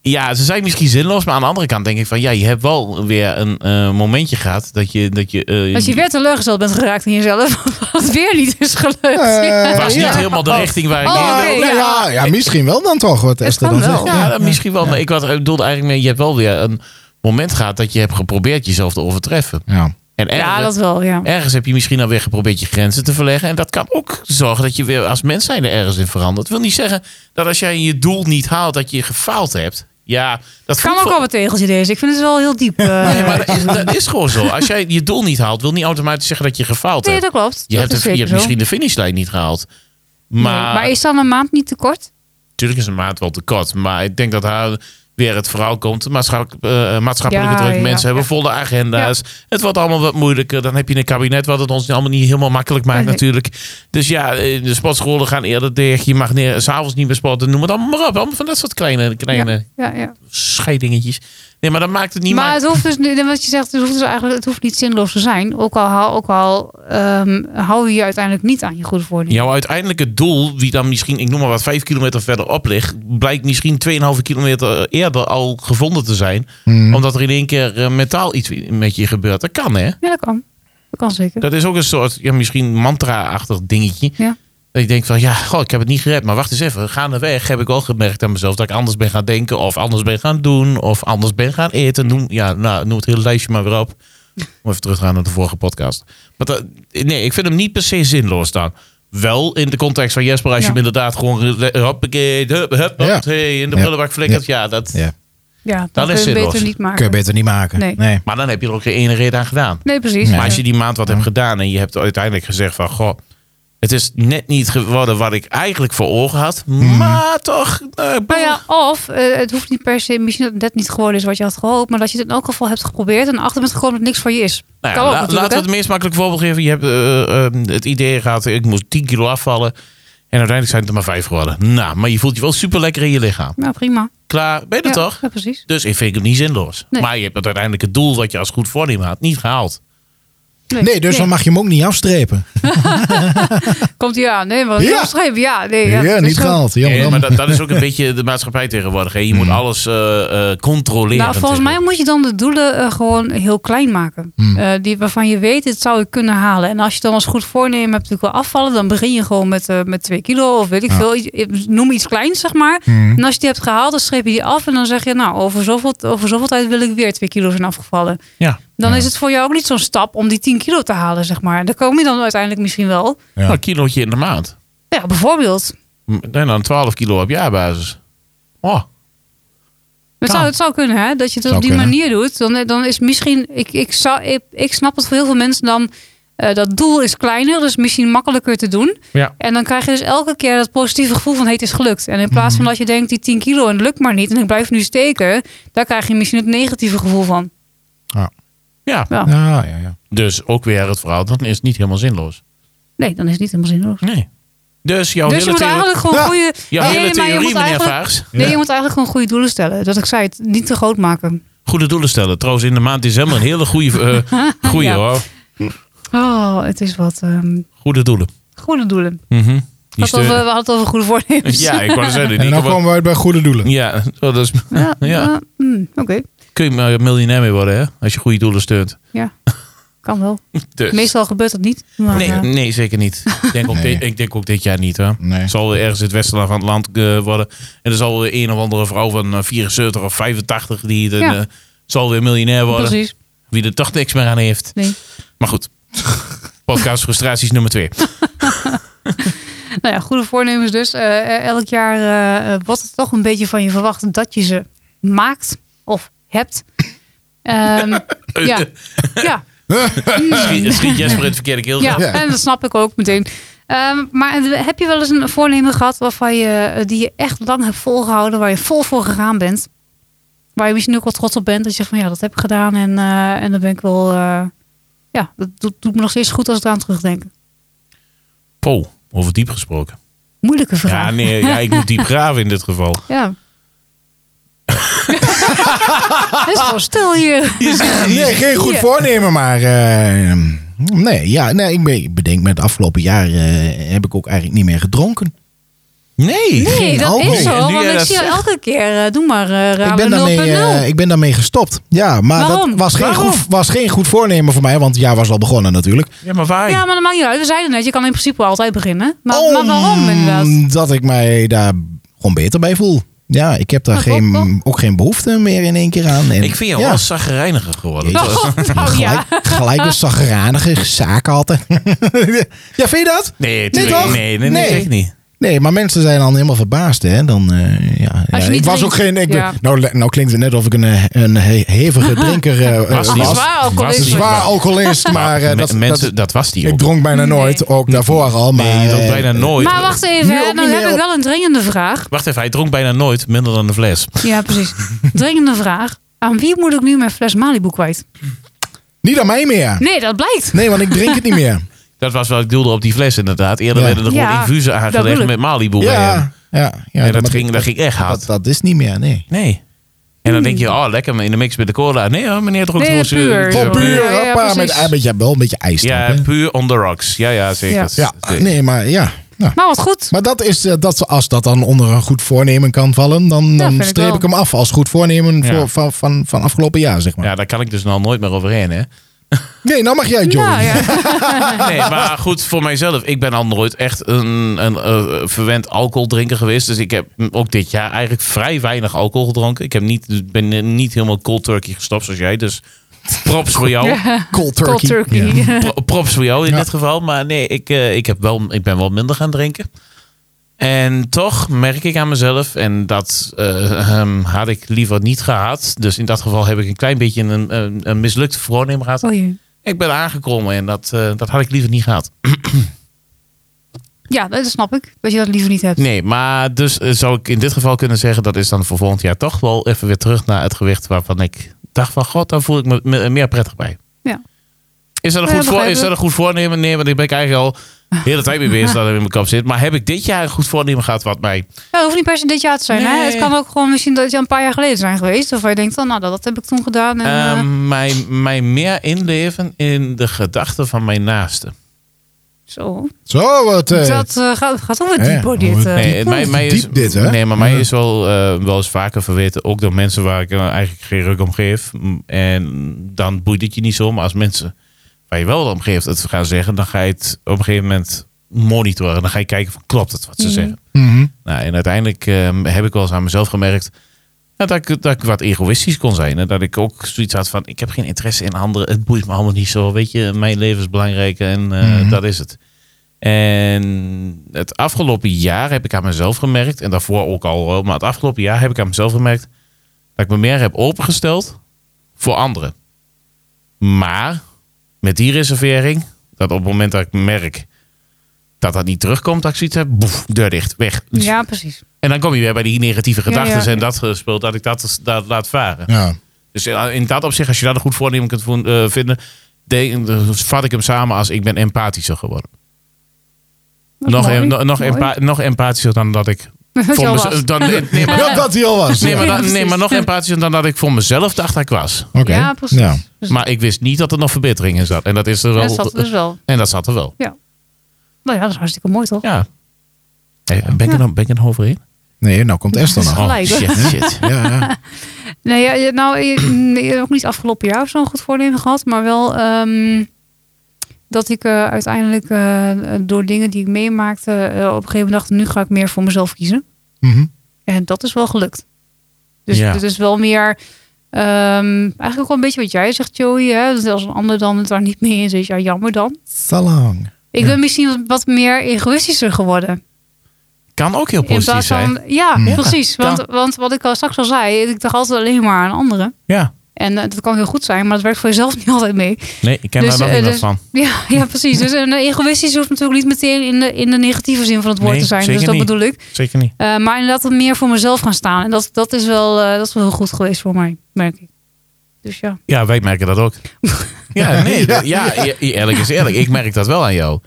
S3: ja, ze zijn misschien zinloos. Maar aan de andere kant denk ik van ja, je hebt wel weer een eh, momentje gehad dat je. Dat je, eh,
S1: Als je weer teleurgesteld bent geraakt in jezelf, [LAUGHS] wat weer niet is gelukt.
S2: Eh,
S3: was niet
S2: ja.
S3: helemaal de richting waar ik
S1: Oh,
S3: heen
S1: oké.
S3: wilde.
S2: Nou ja, ja, misschien wel dan toch, wat Esther
S1: kan
S2: dan
S1: wel.
S2: zegt.
S3: Ja, dat misschien wel. Maar ik wat- ik bedoelde eigenlijk mee, je hebt wel weer een moment gehad dat je hebt geprobeerd jezelf te overtreffen.
S2: Ja.
S3: En ergens,
S1: ja, dat wel, ja.
S3: ergens heb je misschien alweer geprobeerd je grenzen te verleggen. En dat kan ook zorgen dat je weer als mens zijn er ergens in verandert. Dat wil niet zeggen dat als jij je doel niet haalt, dat je gefaald hebt. Ja, dat
S1: Het kan
S3: voelt
S1: ook
S3: wel-
S1: wel wat tegeltje deze. Ik vind het wel heel diep. eh.
S3: Nee, maar dat is, dat is gewoon zo. Als jij je doel niet haalt, wil niet automatisch zeggen dat je gefaald
S1: nee,
S3: hebt.
S1: dat klopt.
S3: Je
S1: dat
S3: hebt,
S1: is
S3: de- je
S1: zeker
S3: hebt
S1: zo.
S3: misschien de finishlijn niet gehaald. Maar,
S1: Nee, maar is dan een maand niet te kort?
S3: natuurlijk is een maand wel te kort. Maar ik denk dat haar weer het verhaal komt. Maatscha- eh, maatschappelijke
S1: Ja,
S3: druk.
S1: ja,
S3: Mensen hebben
S1: ja.
S3: volle agenda's. Het wordt allemaal wat moeilijker. Dan heb je een kabinet wat het ons allemaal niet helemaal makkelijk maakt
S1: Nee.
S3: natuurlijk. Dus ja, eh, de sportscholen gaan eerder dicht. Je mag neer- 's avonds niet meer sporten. Noem het allemaal maar op. Allemaal van dat soort kleine, kleine
S1: Ja, ja.
S3: scheidingetjes. Nee, maar dat maakt het niet
S1: maar
S3: ma-
S1: het hoeft dus, niet- wat je zegt, het hoeft dus eigenlijk het hoeft niet zinloos te zijn. Ook al, hou- ook al ehm, hou je je uiteindelijk niet aan je goede voornemen.
S3: Jouw uiteindelijke doel, wie dan misschien, ik noem maar wat, vijf kilometer verderop ligt, blijkt misschien 2,5 kilometer eerder al gevonden te zijn. Omdat er in één keer eh, mentaal iets met je gebeurt. Dat kan, hè?
S1: Ja, dat kan. Dat kan zeker.
S3: Dat is ook een soort, ja, misschien mantra-achtig dingetje.
S1: Ja.
S3: Dat je denkt van, ja, goh, ik heb het niet gered. Maar wacht eens even, gaandeweg heb ik wel gemerkt aan mezelf dat ik anders ben gaan denken. Of anders ben gaan doen. Of anders ben gaan eten. Noem, ja, nou, noem het hele lijstje maar weer op. Om even terug te gaan naar de vorige podcast. Maar dat- nee, ik vind hem niet per se zinloos staan. Wel in de context van Jesper, als je
S1: Ja.
S3: hem inderdaad gewoon... re- Hoppakee, hup, hup,
S2: Ja.
S3: hoppatee, in de
S2: Ja.
S3: prullenbak flikkert. Ja, dat,
S2: Ja.
S1: Ja, dat,
S3: Dan
S1: kun
S3: is
S1: je
S3: zinloos.
S1: beter niet
S2: Kun je
S1: maken.
S2: beter niet maken.
S1: Nee.
S2: nee.
S3: Maar dan heb je er ook geen ene reden aan gedaan.
S1: Nee, precies.
S2: Maar
S3: Maar als je
S1: Ja.
S3: die maand wat hebt gedaan en je hebt uiteindelijk gezegd van... Goh, het is net niet geworden wat ik eigenlijk voor ogen had.
S1: Mhm.
S3: Maar toch... eh,
S1: Nou ja, of eh, het hoeft niet per se, misschien dat het net niet geworden is wat je had gehoopt, maar dat je het in elk geval hebt geprobeerd en achter bent gekomen dat niks voor je is.
S3: Nou ja,
S1: kan ook
S3: la-
S1: natuurlijk,
S3: laten we
S1: hè?
S3: het meest makkelijk voorbeeld geven. Je hebt eh, eh, het idee gehad, ik moest 10 kilo afvallen. En uiteindelijk zijn het er maar 5 geworden. Nou, maar je voelt je wel super lekker in je lichaam.
S1: Nou, prima.
S3: Klaar, ben je
S1: Ja,
S3: er toch?
S1: Ja, precies.
S3: Dus ik vind het niet zinloos.
S1: Nee.
S3: Maar je hebt het uiteindelijk het doel wat je als goed voornemen had niet gehaald.
S2: Nee, dus dan mag je hem ook niet afstrepen.
S1: Komt hij aan? Nee, maar
S2: Ja.
S1: ja. ja, nee,
S2: Ja,
S1: ja, Mhm. dat is
S2: niet
S1: zo.
S2: gehaald. Jammer,
S3: Nee,
S2: jammer.
S3: Eh, maar dat, dat
S1: [LAUGHS]
S3: is ook een beetje de maatschappij tegenwoordig. Hè. Je moet alles eh, eh, controleren.
S1: Nou, volgens mij moet je dan de doelen eh, gewoon heel klein maken. Eh, die, waarvan je weet, dit zou ik kunnen halen. En als je dan als goed voornemen hebt, natuurlijk wel afvallen, dan begin je gewoon met, eh met twee kilo of weet ik veel. Iets- Noem iets kleins, zeg maar.
S2: Mm.
S1: En als je die hebt gehaald, dan streep je die af en dan zeg je, nou, over zoveel, over zoveel tijd wil ik weer twee kilo zijn afgevallen.
S3: Ja.
S1: Dan is het voor jou ook niet zo'n stap om die 10 kilo te halen, zeg maar. Daar kom je dan uiteindelijk misschien wel.
S2: Ja.
S3: Nou, een kilootje in de maand.
S1: Ja, bijvoorbeeld.
S3: M- En dan 12 kilo op jaarbasis. Oh,
S1: Het
S3: Kan.
S1: zou, het zou kunnen, hè? Dat je het
S2: Zou
S1: op die
S2: kunnen.
S1: manier doet. Dan, dan is misschien... Ik, ik, zou, ik, ik snap het voor heel veel mensen dan... eh, dat doel is kleiner, dus misschien makkelijker te doen.
S3: ja.
S1: En dan krijg je dus elke keer dat positieve gevoel van... hé, het is gelukt. En in
S3: Mhm.
S1: plaats van dat je denkt, die 10 kilo en het lukt maar niet... en ik blijf nu steken, daar krijg je misschien het negatieve gevoel van.
S3: ja.
S1: Ja.
S2: Ja, ja, ja.
S3: Dus ook weer het verhaal, dan is het niet helemaal zinloos.
S1: Nee, dan is het niet helemaal zinloos.
S3: Nee. Dus jouw
S1: dus je
S3: hele,
S1: moet
S3: theo-
S1: eigenlijk gewoon
S2: Ja.
S1: goede...
S3: jouw hele
S1: maar je
S3: theorie,
S1: moet
S3: meneer
S1: eigenlijk-
S3: Vaags.
S1: Nee, je moet eigenlijk gewoon goede doelen stellen. Dat ik zei het, niet te groot maken.
S3: Goede doelen stellen. Trouwens, in de maand december een hele
S1: [LAUGHS]
S3: goede, eh goede
S1: Ja.
S3: hoor.
S1: Oh, het is wat. ehm,
S3: Goede doelen.
S1: goede doelen.
S3: Mhm.
S1: We
S3: Die
S1: hadden, over,
S3: steun-
S1: we hadden het over goede voornemens.
S3: [LAUGHS] Ja, ik
S2: [LAUGHS]
S3: wou zeggen.
S2: En
S3: die
S2: dan
S3: kan wel-
S2: komen we uit bij goede doelen.
S3: Ja, zo, dat is,
S1: Ja,
S3: Ja.
S1: ja, mm, Oké,
S3: kun je maar miljonair mee worden, hè? Als je goede doelen steunt.
S1: kan wel.
S3: Dus.
S1: Meestal gebeurt dat niet. Maar,
S3: Nee,
S1: eh,
S3: nee, zeker niet. Ik denk, ook
S2: Nee.
S3: dit- ik denk ook dit jaar niet, hoor.
S2: Nee.
S3: Het zal weer ergens het westen van het land eh, worden. En er zal weer een of andere vrouw van eh, 74 of 85 die dan,
S1: Ja.
S3: eh, zal weer miljonair worden.
S1: precies.
S3: Wie er toch niks meer aan heeft.
S1: Nee.
S3: Maar
S1: [LAUGHS]
S3: goed. Podcast frustraties nummer twee.
S1: Nou ja, goede voornemens dus. Eh, eh, elk jaar eh, eh, wordt het toch een beetje van je verwacht dat je ze maakt of hebt. Ehm, ja, ja,
S3: Eh, Schiet, eh, schiet Jesper in het verkeerde keel.
S1: ja,
S2: Ja.
S1: en dat snap ik ook meteen. Ehm, maar heb je wel eens een voornemen gehad waarvan je, eh, die je echt lang hebt volgehouden, waar je vol voor gegaan bent? Waar je misschien ook wel trots op bent. Dat je zegt van ja, dat heb ik gedaan en, eh, en dan ben ik wel. eh, ja, dat doet, doet me nog steeds goed als ik eraan terugdenk.
S3: Po, over diep gesproken.
S1: Moeilijke vraag.
S3: Ja, nee, ja, ik moet diep graven in dit geval. [LAUGHS]
S1: Ja. Het is gewoon stil hier.
S2: Nee, geen goed
S1: Ja.
S2: voornemen, maar... eh, nee, ja, nee, ik ben- ik bedenk met het afgelopen jaar eh, heb ik ook eigenlijk niet meer gedronken.
S3: Nee.
S1: Nee,
S2: Geen
S1: dat
S2: alcohol.
S1: is zo.
S3: En nu
S1: Want
S3: jij
S1: ik
S3: dat
S1: zie je
S3: zegt.
S1: elke keer. eh, doe maar, eh
S2: ik,
S1: ramen Nou, 0.0.
S2: ben daarmee, eh, ik ben daarmee gestopt. Ja, maar
S1: Waarom?
S2: dat was geen,
S3: Waarom?
S2: goed, was geen goed voornemen voor mij, want het jaar was al begonnen natuurlijk.
S3: Ja, maar waar?
S1: ja, maar dat maakt niet uit. We zeiden net, je kan in principe altijd beginnen. Maar,
S3: Oh,
S1: maar waarom inderdaad?
S2: Omdat ik mij daar gewoon beter bij voel. Ja, ik heb daar
S1: Maar
S2: geen,
S1: waarom?
S2: ook geen behoefte meer in één keer aan. En,
S3: Ik vind jou
S2: ja,
S3: wel zagrijniger geworden.
S2: Jezus.
S1: Oh, nou ja.
S2: Gelijk,
S1: [LAUGHS]
S2: gelijk een zagranige zaak altijd. [LAUGHS] ja, vind je dat?
S3: Nee,
S2: Nee,
S3: tuurlijk-
S2: toch?
S3: nee, nee, nee,
S2: Nee.
S3: zeker niet.
S2: Nee, maar mensen zijn dan helemaal verbaasd, hè? Dan, eh, ja,
S1: Als je
S2: ja,
S1: niet
S2: ik was
S1: drinkt,
S2: ook geen. Ik,
S1: ja.
S2: nou, le- nou klinkt het net of ik een, eh, een he-
S1: [LAUGHS]
S2: hevige drinker eh, eh,
S3: Was
S2: was.
S3: niet
S1: Zwaar
S3: was
S1: alcoholisme.
S3: niet
S2: Zwaar
S1: [LAUGHS]
S2: alcoholist, maar eh,
S3: Me-
S2: dat,
S3: mensen,
S2: dat,
S3: dat, was die
S2: ik
S3: ook.
S2: dronk bijna
S1: Nee.
S2: nooit. Ook daarvoor al, maar
S3: nee, je dronk
S2: eh,
S3: bijna nooit.
S1: Maar wacht even,
S2: Nu
S1: hè,
S2: ook
S1: dan
S2: niet
S1: heb
S2: meer.
S1: ik wel een dringende vraag.
S3: Wacht even, hij dronk bijna nooit minder dan een fles.
S1: Ja, precies. Dringende vraag. Aan wie moet ik nu mijn fles Malibu kwijt?
S2: niet aan mij meer.
S1: Nee, dat blijkt.
S2: Nee, want ik drink het niet
S3: [LAUGHS]
S2: meer.
S3: Dat was wat ik doelde op die fles inderdaad. Eerder
S2: Ja.
S3: werden er gewoon
S1: Ja,
S3: infusen
S1: dat bedoel
S3: aangelegd
S1: ik.
S3: met Malibu. bij hem.
S2: Ja, ja, ja,
S3: en dat,
S2: maar
S3: ging, dat ging echt hard.
S2: dat, dat is niet meer, nee.
S3: nee. En
S2: Hmm.
S3: dan denk je, oh lekker, maar in de mix met de cola. Nee hoor, meneer dronk
S1: Nee,
S3: gewoon zijn-
S1: puur.
S3: zijn-
S2: Gewoon puur,
S1: Ja, ja,
S2: hoppa, met
S1: precies.
S2: een beetje, wel een beetje ijs. erop,
S3: Ja,
S2: hè.
S3: puur on the rocks. Ja, ja, zeker.
S1: Ja.
S2: ja, ah,
S3: Zeker.
S2: nee, maar ja. ja.
S1: Maar wat goed.
S2: Maar dat is, eh, dat, als dat dan onder een goed voornemen kan vallen, dan, dan
S1: vind ik
S2: streep
S1: wel.
S2: ik hem af als goed voornemen
S3: Ja.
S2: voor, van, van, van afgelopen jaar, zeg maar.
S3: Ja, daar kan ik dus nou nooit meer overheen,
S1: [LAUGHS]
S3: hè?
S2: Nee, nou mag jij, Joey.
S1: Nou, ja.
S3: Nee, maar goed, voor mijzelf. Ik ben al nooit echt een, een eh, verwend alcoholdrinker geweest. Dus ik heb ook dit jaar eigenlijk vrij weinig alcohol gedronken. Ik heb niet, ben niet helemaal cold turkey gestopt zoals jij. Dus props voor
S1: [LAUGHS]
S3: jou.
S2: Cold turkey.
S1: Cold turkey.
S2: Ja.
S1: [LAUGHS]
S3: Pro- props voor jou in
S2: Ja.
S3: dit geval. Maar nee, ik, eh, ik, heb wel, ik ben wel minder gaan drinken. En toch merk ik aan mezelf, en dat eh, ehm, had ik liever niet gehad. Dus in dat geval heb ik een klein beetje een, een, een mislukt voornemen gehad.
S1: Oh, jee.
S3: Ik ben aangekomen en dat, eh, dat had ik liever niet gehad.
S1: Ja, dat snap ik. Dat je dat liever niet hebt.
S3: Nee, maar dus eh, zou ik in dit geval kunnen zeggen... dat is dan voor volgend jaar toch wel even weer terug naar het gewicht... waarvan ik dacht van, god, daar voel ik me me- meer prettig bij.
S1: Ja.
S3: Is dat een,
S1: Ja,
S3: goed, voor,
S1: begrijp
S3: is
S1: ik.
S3: dat een goed voornemen? Nee, want ik ben ik eigenlijk al de hele tijd mee bezig dat het in mijn kop zit. Maar heb ik dit jaar een goed voornemen gehad wat mij...
S1: Ja, het hoeft niet per se dit jaar te zijn. Hè?
S3: Nee.
S1: Het kan ook gewoon misschien dat je een paar jaar geleden zijn geweest. Of waar je denkt, oh, nou, dat, dat heb ik toen gedaan. En, eh,
S3: ehm, mij, mij meer inleven in de gedachten van mijn naasten.
S1: zo.
S2: Zo, wat... eh,
S1: dat eh, gaat, gaat over
S2: hè,
S1: diep hoor, dit.
S2: over
S1: eh.
S3: Nee, mij, mij is,
S2: diep dit, hè?
S3: Nee, maar mij
S2: Ja.
S3: is wel, eh, wel eens vaker verweten. Ook door mensen waar ik eh, eigenlijk geen ruk om geef. Mm, En dan boeit het je niet zo. Maar als mensen waar je wel om geeft het gaan zeggen... dan ga je het op een gegeven moment monitoren. Dan ga je kijken, van, klopt het wat ze
S1: Mhm.
S3: zeggen?
S2: mhm.
S3: Nou, en uiteindelijk eh, heb ik wel eens aan mezelf gemerkt... ja, dat, ik, dat ik wat egoïstisch kon zijn. En dat ik ook zoiets had van... ik heb geen interesse in anderen. Het boeit me allemaal niet zo. Weet je, mijn leven is belangrijk en eh,
S2: Mhm.
S3: dat is het. En het afgelopen jaar heb ik aan mezelf gemerkt... en daarvoor ook al wel... maar het afgelopen jaar heb ik aan mezelf gemerkt... dat ik me meer heb opengesteld voor anderen. Maar met die reservering... dat op het moment dat ik merk... dat dat niet terugkomt, dat ik zoiets heb... boef, deur dicht, weg. Dus
S1: Ja, precies.
S3: En dan kom je weer bij die negatieve
S1: Ja,
S3: gedachten
S1: ja.
S3: en dat gespeeld, dat ik dat, dat laat varen.
S2: Ja.
S3: Dus in dat opzicht, als je daar een goed voornemen kunt vo- eh, vinden, denk- dus vat ik hem samen als ik ben empathischer geworden.
S1: Dat is
S3: nog,
S1: mooi.
S3: em- no- nog,
S1: Mooi.
S3: empa- nog empathischer dan dat ik
S1: [LAUGHS] Dat je al
S3: voor
S1: was. [LAUGHS]
S3: mezelf... Dan, nee, nee, maar,
S2: Dat dat hij al was.
S3: nee, maar,
S1: Ja,
S3: dan- nee,
S1: precies.
S3: maar nog empathischer dan dat ik voor mezelf dacht dat ik was.
S2: Oké.
S1: Ja, precies.
S2: Ja.
S1: Dus
S3: Maar ik wist niet dat er nog verbetering in zat. En dat is er wel.
S1: dat zat dus wel.
S3: En dat zat er wel.
S1: Nou ja, dat is hartstikke mooi toch?
S3: Ja. Hey, ben, ik er nou, ben ik er nog overheen?
S2: Nee, nou komt Esther nog.
S1: Gelijk, hoor.
S3: shit,
S1: [LAUGHS]
S3: shit.
S2: Ja, ja.
S1: Nee, ja, je- nou, je- [CLEARS THROAT] nee, ook niet afgelopen jaar of zo'n goed voornemen gehad. Maar wel ehm, dat ik eh, uiteindelijk eh, door dingen die ik meemaakte... eh, op een gegeven moment dacht, nu ga ik meer voor mezelf kiezen.
S2: Mhm.
S1: En dat is wel gelukt. Dus
S3: Ja.
S1: het is wel meer... ehm, eigenlijk ook wel een beetje wat jij zegt, Joey. Hè? Dat als een ander dan het daar niet mee eens is, ja, jammer dan.
S2: Salang.
S1: Ik ben misschien wat- wat meer egoïstischer geworden.
S3: Kan ook heel
S1: In
S3: positief
S1: plaats
S3: zijn.
S1: van, ja,
S2: Ja.
S1: precies.
S3: Ja.
S1: Want, want wat ik al straks al zei, ik dacht altijd alleen maar aan anderen.
S3: Ja.
S1: En eh, dat kan heel goed zijn, maar dat werkt voor jezelf [LAUGHS] niet altijd mee.
S3: Nee, ik ken
S1: Dus,
S3: daar nog
S1: eh,
S3: niemand
S1: dus-
S3: van.
S1: Ja, ja precies. Dus een egoïstisch hoeft natuurlijk niet meteen in de, in de negatieve zin van het woord
S3: Nee,
S1: te zijn. Dus
S3: zeker
S1: dat
S3: niet.
S1: bedoel ik.
S3: Zeker niet.
S1: Eh, maar inderdaad wat meer voor mezelf gaan staan. En dat, dat, is wel, eh, dat is wel heel goed geweest voor mij, merk ik. Dus ja.
S3: Ja, wij merken dat ook. ja, nee. Ja, ja, eerlijk is eerlijk. Ik merk dat wel aan jou.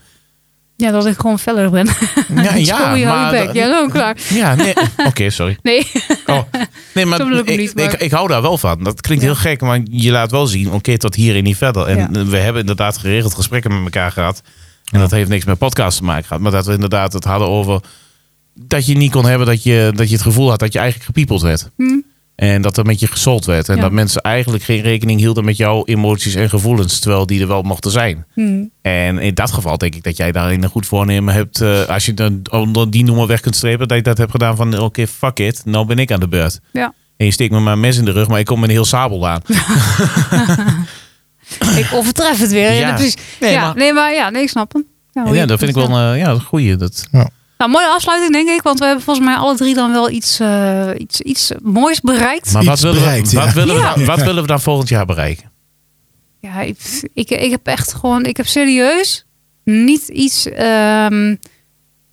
S1: Ja, dat ik gewoon feller ben. [LAUGHS]
S3: Ja,
S1: Sorry, hou je bek.
S3: dat-
S1: Ja, nou, klaar.
S3: Ja, nee. Oké, sorry.
S1: Nee, [LAUGHS]
S3: Oh, nee, maar,
S1: Zo bedoel ik
S3: ik,
S1: hem niet, maar-
S3: Ik, ik hou daar wel van. Dat klinkt heel gek, maar je laat wel zien, oké, tot hier en niet verder. En
S1: Ja.
S3: we hebben inderdaad geregeld gesprekken met elkaar gehad. En dat heeft niks met podcast te maken gehad. Maar dat we inderdaad het hadden over dat je niet kon hebben dat je, dat je het gevoel had dat je eigenlijk gepiepeld werd.
S1: Hm.
S3: En dat er met je gesold werd. En
S1: Ja.
S3: dat mensen eigenlijk geen rekening hielden met jouw emoties en gevoelens. Terwijl die er wel mochten zijn.
S1: Hm.
S3: En in dat geval denk ik dat jij daarin een goed voornemen hebt. eh, als je dan onder die noemer weg kunt strepen, dat je dat hebt gedaan van oké, fuck it, nou ben ik aan de beurt.
S1: ja.
S3: En je steekt me maar een mes in de rug, maar ik kom met een heel sabel aan.
S1: Nou, Ik overtref het weer. Ja,
S3: Ja.
S1: precies.
S3: Nee,
S1: ja,
S3: maar-
S1: nee, maar ja, nee, ik snap hem. Ja,
S3: En
S1: hoe
S3: ja,
S1: je-
S3: dat vind ik wel een eh, ja, een goeie. Dat,
S1: Nou, mooie afsluiting denk ik, want we hebben volgens mij alle drie dan wel iets, eh, iets, iets moois bereikt.
S3: maar wat
S2: Iets
S3: willen,
S2: bereikt,
S3: we,
S2: ja.
S3: wat, willen
S1: Ja.
S3: we dan, wat willen we dan volgend jaar bereiken?
S1: Ja, ik, ik, ik heb echt gewoon, ik heb serieus niet iets, ehm,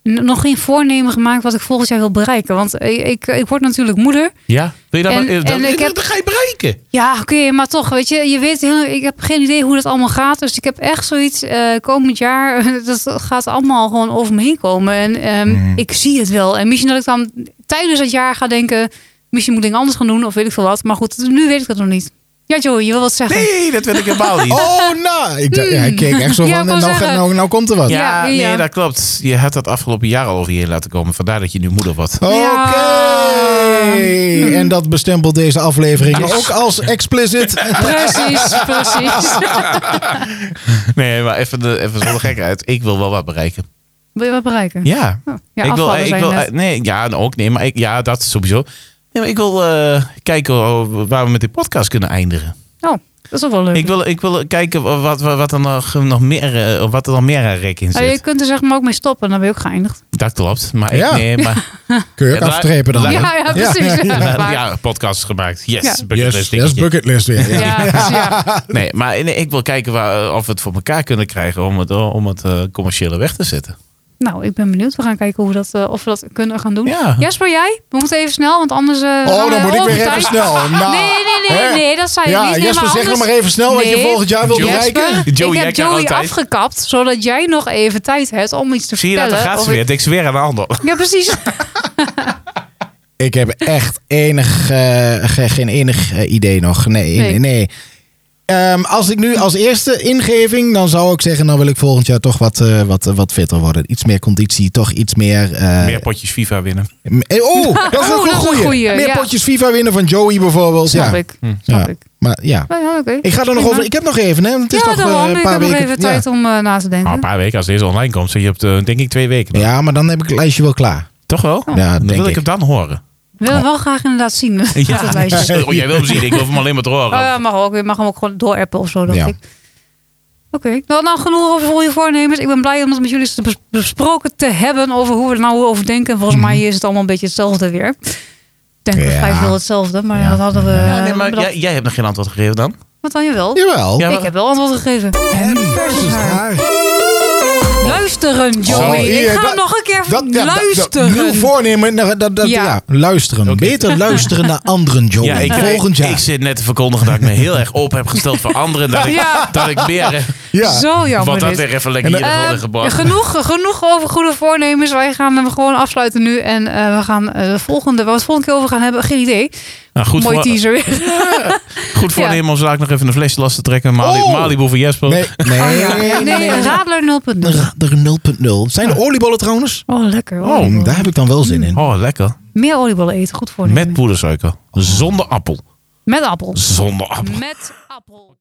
S1: n- nog geen voornemen gemaakt wat ik volgend jaar wil bereiken. Want ik, ik, ik word natuurlijk moeder.
S3: Ja? Wil je dat,
S1: En-
S3: eh, dat,
S1: en ik
S3: dat-
S1: heb-
S3: dat ga je bereiken.
S1: Ja, oké, maar toch, weet je, je weet heel, ik heb geen idee hoe dat allemaal gaat. Dus ik heb echt zoiets, eh, komend jaar, [LAUGHS] dat gaat allemaal gewoon over me heen komen. En ehm,
S2: Mhm.
S1: ik zie het wel. En misschien dat ik dan tijdens het jaar ga denken, misschien moet ik dingen anders gaan doen of weet ik veel wat. Maar goed, nu weet ik dat nog niet. Ja, Joey, je wil wat zeggen.
S3: Nee, dat wil ik [LAUGHS] helemaal niet.
S2: Oh, nou. Ik dacht, ja, hij keek echt zo
S1: Hmm. Ja,
S2: van,
S1: ik wou
S2: nou, gaat-
S1: zeggen.
S2: nou, nou komt er wat.
S3: Ja,
S1: Ja, ja.
S3: nee, dat klopt. Je hebt dat afgelopen jaar al over je heen laten komen. Vandaar dat je nu moeder wordt. [LAUGHS]
S2: Oké.
S1: Ja.
S2: En dat bestempelt deze aflevering
S3: Yes.
S2: ook als explicit.
S1: Precies, precies.
S3: Nee, maar even, de, even zonder gekheid. Ik wil wel wat bereiken.
S1: Wil je wat bereiken?
S3: Ja.
S1: Oh, ja,
S3: ik wil,
S1: afvallen
S3: ik
S1: zijn
S3: wil,
S1: net.
S3: nee, ja, nou ook nee, maar ik, ja, dat sowieso. Nee, maar ik wil eh, kijken waar we met dit podcast kunnen eindigen.
S1: Oh, dat is ook wel leuk.
S3: eh, Ik wil, ik wil kijken wat, wat, wat, er nog, nog meer, eh, wat er nog meer aan rek in
S1: Ah, je
S3: zit.
S1: kunt er zeg maar ook mee stoppen, dan ben je ook geëindigd.
S3: Dat klopt. Maar ik,
S2: Ja.
S1: [LAUGHS]
S3: nee, maar,
S2: Kun je ook
S3: Ja, daar-
S2: aftrepen dan.
S3: daar-
S1: Ja, ja, precies. Ja,
S3: ja,
S1: waar.
S3: podcast gemaakt. Yes,
S1: Ja.
S3: bucketlist
S2: Yes, yes,
S3: dingetje.
S2: bucketlist weer. Ja.
S1: Ja, precies, ja.
S3: Nee, maar nee, ik wil kijken waar, of we het voor elkaar kunnen krijgen om het, om het eh, commerciële weg te zetten.
S1: Nou, ik ben benieuwd. We gaan kijken hoe we dat, eh, of we dat kunnen gaan doen.
S3: Ja.
S1: Jesper, jij? We moeten even snel, want anders... eh, gaan
S2: Oh,
S1: we
S2: dan moet ik
S1: over
S2: weer
S1: tijd.
S2: even snel. Nou.
S1: Nee, nee, nee,
S2: Hè?
S1: nee, dat zei ik
S2: Ja,
S1: niet. Nee,
S2: Jesper, zeg nog
S1: anders-
S2: maar even snel wat je volgend jaar wilt
S1: Jesper,
S2: bereiken.
S3: Joey,
S1: ik
S3: jij
S1: heb
S3: krijgt
S1: Joey
S3: altijd-
S1: afgekapt, zodat jij nog even tijd hebt om iets te
S3: Zie je dat?
S1: vertellen.
S3: Dan gaat ze
S1: over-
S3: weer. Ik zweer aan de ander.
S1: Ja, precies.
S2: Ik heb echt enig, eh, ge- geen enig eh, idee nog. Nee,
S1: Nee.
S2: nee. Ehm, als ik nu als eerste ingeving, dan zou ik zeggen, dan wil ik volgend jaar toch wat, eh, wat, eh, wat fitter worden. Iets meer conditie, toch iets meer... eh,
S3: Meer potjes FIFA winnen.
S1: Mhm.
S2: m- eh,
S1: [LAUGHS]
S2: oh, dat is
S1: Oh, dat
S2: ook
S1: is
S2: een
S1: een
S2: goeie.
S1: goeie,
S2: Meer
S1: ja.
S2: potjes FIFA winnen van Joey bijvoorbeeld.
S1: Snap
S2: ja.
S1: ik. Snap
S2: Hm. Ja.
S1: ik.
S2: Maar ja,
S1: Maar ja, oké.
S2: ik ga er nog
S1: Prima.
S2: over. Ik heb nog even, hè? want Het is
S1: ja,
S2: toch eh,
S1: daarom.
S2: een
S1: ik
S2: paar
S1: heb nog
S2: weken.
S1: even
S2: ja.
S1: tijd om eh, na te
S3: Nou,
S1: denken.
S3: een paar weken als deze online komt. Je hebt eh, denk ik twee weken.
S2: Ja, maar dan heb ik het lijstje wel klaar.
S3: Toch wel?
S1: Oh.
S2: Ja,
S3: Dan
S2: denk
S3: wil ik
S2: ik.
S3: hem dan horen.
S1: We willen wel graag inderdaad zien. [LAUGHS] dat lijstje.
S3: Oh, jij wil hem zien. Ik wil hem alleen maar te horen.
S1: Oh ja, mag ook. Je mag hem ook gewoon doorappen of zo, dacht
S2: Ja.
S1: ik. Oké, nou, nou genoeg over goede voornemens. Ik ben blij om dat met jullie te bes- besproken te hebben over hoe we er nou over denken. Volgens mij is het allemaal een beetje hetzelfde weer. Ik denk
S2: Mhm. Ja.
S1: we vrij veel hetzelfde, maar
S2: Ja.
S1: dat hadden we...
S3: Ja, nee, maar
S1: bedacht.
S3: jij, jij hebt nog geen antwoord gegeven dan.
S1: Wat dan je wel?
S2: Jawel.
S3: Ja,
S1: ik heb wel antwoord gegeven.
S2: En versus haar.
S1: Luisteren, Joey.
S2: Oh,
S1: ik
S2: hier,
S1: ga
S2: dat-
S1: hem nog een keer
S2: Dat, ja, dat-
S1: luisteren.
S2: Dat, nieuw voornemen. nou, Dat, dat,
S1: Ja.
S2: ja. luisteren. Beter luisteren naar anderen, Joey.
S3: Ja, ik,
S2: Volgend jaar.
S3: ik zit net te verkondigen dat ik me heel erg op heb gesteld voor anderen. Dat ik,
S1: Ja.
S3: dat ik meer... eh,
S2: [LAUGHS] Ja.
S1: Zo jammer
S3: Wat dat
S1: dit.
S3: weer even lekker hier
S1: Eh,
S3: in de gebracht.
S1: genoeg, genoeg over goede voornemens. Wij gaan hem gewoon afsluiten nu. En eh, we gaan eh, de volgende, waar we het volgende keer over gaan hebben, geen idee.
S3: Nou, goed,
S1: Mooi
S3: voor,
S1: teaser weer.
S3: goed voor
S1: Ja.
S3: nemen om zo nog even een flesje last te trekken. Mali,
S2: Oh!
S3: Malibu voor Jesper.
S2: Nee,
S1: [LAUGHS]
S2: nee,
S1: Oh, ja. Nee, Radler 0.0.
S2: De 0.0. Zijn de oliebollen trouwens?
S1: Oh, lekker.
S2: Oh,
S1: oliebollen.
S2: daar heb ik dan wel zin in.
S3: Oh, lekker.
S1: Meer oliebollen eten, goed voornemen.
S3: Met poedersuiker. Zonder appel.
S1: Met appel.
S3: Zonder appel.
S1: Met appel.